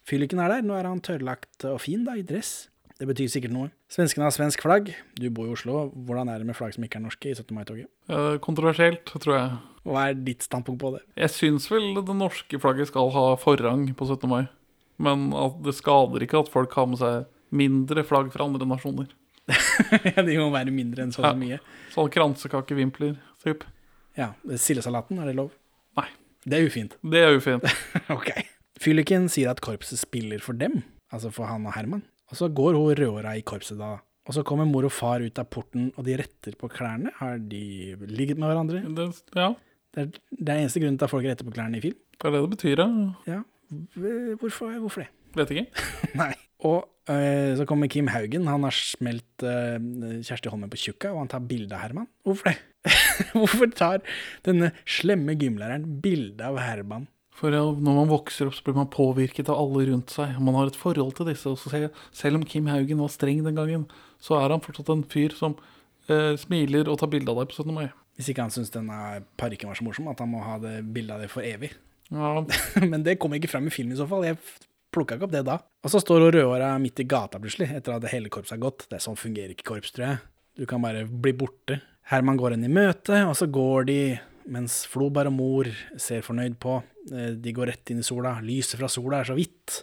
Fylliken er der, nå er han tørrlagt og fin, da, i dress. Det betyr sikkert noe. Svenskene har svensk flagg. Du bor i Oslo, hvordan er det med flagg som ikke er norske i 17. mai-toget?
Eh, Kontroversielt, tror jeg.
Hva er ditt standpunkt på det?
Jeg syns vel det norske flagget skal ha forrang på 17. mai. Men at det skader ikke at folk har med seg mindre flagg fra andre nasjoner.
De må være mindre enn så og så mye.
Sånn kransekakevimpler, typ.
Ja, Sildesalaten, er det lov?
Nei.
Det er ufint.
Det er ufint.
Ok. Fylliken sier at korpset spiller for dem, altså for han og Herman. Og så går hun rødhåra i korpset da. Og så kommer mor og far ut av porten, og de retter på klærne. Har de ligget med hverandre?
Det, ja,
Det er, det er eneste grunnen til at folk retter på klærne i film.
det er det det betyr, ja.
Ja. V- Hvorfor, hvorfor det?
Vet ikke.
Nei. Og øh, så kommer Kim Haugen. Han har smelt øh, Kjersti Holmen på tjukka, og han tar bilde av Herman. Hvorfor det? hvorfor tar denne slemme gymlæreren bilde av Herman?
For ja, når man vokser opp, så blir man påvirket av alle rundt seg. og Man har et forhold til disse. Og så ser jeg, selv om Kim Haugen var streng den gangen, så er han fortsatt en fyr som eh, smiler og tar bilde av deg på 17. mai.
Hvis ikke han syns denne parykken var så morsom, at han må ha det bildet av det for evig.
Ja.
Men det kom ikke fram i filmen i så fall. Jeg plukka ikke opp det da. Og så står hun rødhåra midt i gata plutselig, etter at hele korpset har gått. Det er sånn fungerer ikke korps, tror jeg. Du kan bare bli borte. Herman går henne i møte, og så går de mens Floberg og mor ser fornøyd på. Eh, De går rett inn i sola. Lyset fra sola er så vidt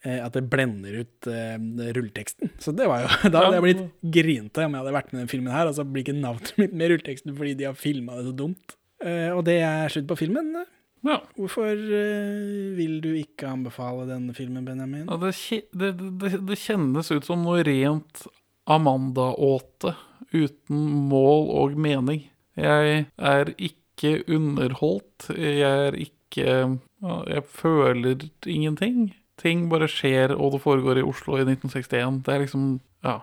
eh, at det blender ut eh, rulleteksten. Så det var jo Da hadde jeg blitt grinete om jeg hadde vært med i den filmen her, og så blir ikke navnet mitt med i rulleteksten fordi de har filma det så dumt. Eh, Og det er slutt på filmen. Hvorfor eh, vil du ikke anbefale denne filmen, Benjamin?
Ja, det, kje- det, det, det kjennes ut som noe rent Amanda-åte, uten mål og mening. Jeg er ikke underholdt, jeg er ikke ja, Jeg føler ingenting. Ting bare skjer, og det foregår i Oslo i 1961. Det er liksom Ja.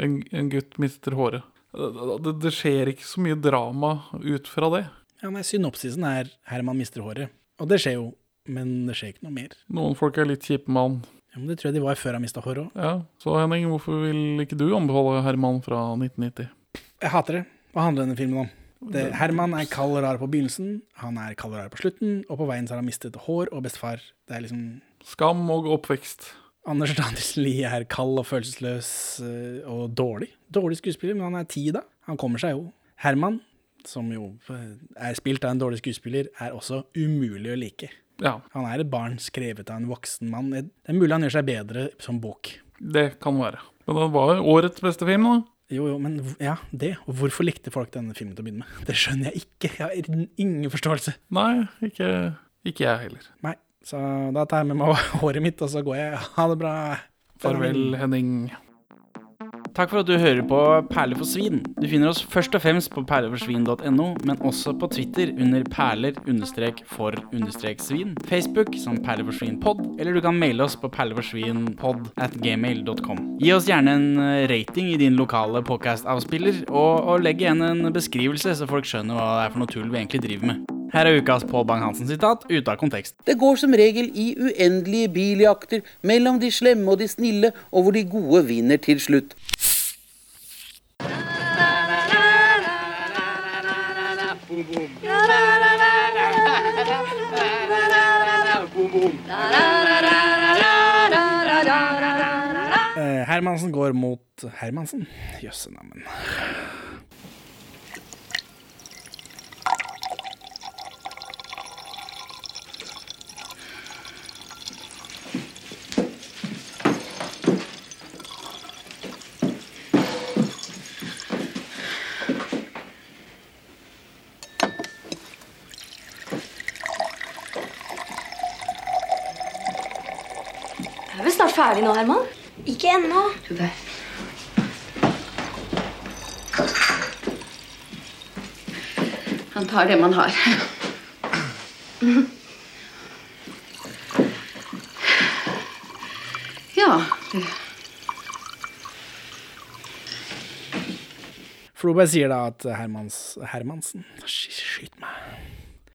En, en gutt mister håret. Det, det, det skjer ikke så mye drama ut fra det.
Ja, nei, Synopsisen er 'Herman mister håret'. Og det skjer jo, men det skjer ikke noe mer.
Noen folk er litt kjipe med han.
Ja, men Det tror jeg de var før han mista håret òg.
Ja, så Henning, hvorfor vil ikke du anbefale Herman fra 1990?
Jeg hater det. Hva handler denne filmen om? Det, Herman er kald og rar på begynnelsen, han er kald og rar på slutten, og på veien så har han mistet hår og bestefar. Det er liksom
Skam og oppvekst.
Anders Danielsen Lie er kald og følelsesløs eh, og dårlig. Dårlig skuespiller, men han er ti da. Han kommer seg jo. Herman, som jo eh, er spilt av en dårlig skuespiller, er også umulig å like.
Ja.
Han er et barn skrevet av en voksen mann. Det er mulig han gjør seg bedre som bok.
Det kan være. Men den var jo årets beste film, da.
Jo, jo, men hv- ja, det. Og hvorfor likte folk denne filmen til å begynne med? Det skjønner jeg ikke. Jeg har in- ingen forståelse.
Nei, ikke, ikke jeg heller.
Nei, så da tar jeg med meg håret mitt, og så går jeg. Ha det bra.
Farvel, Henning.
Takk for at du hører på Perler for svin. Du finner oss først og fremst på perleforsvin.no, men også på Twitter under perler-for-svin, Facebook som perleforsvinpod, eller du kan maile oss på perleforsvinpod at gmail.com. Gi oss gjerne en eh, rating i din lokale podcast-avspiller, og, og legg igjen en beskrivelse, så folk skjønner hva det er for noe tull vi egentlig driver med. Her er ukas Pål Bang-Hansen-sitat ute av kontekst.
Det går som regel i uendelige biljakter mellom de slemme og de snille, og hvor de gode vinner til slutt.
Eh, Hermansen går mot Hermansen. Jøsse navn.
Du er vel snart ferdig nå, Herman?
Ikke ennå.
Jo, det er. Han tar det man har. Ja, du.
Floberg sier da at Hermans, Hermansen Sky- Skyt meg.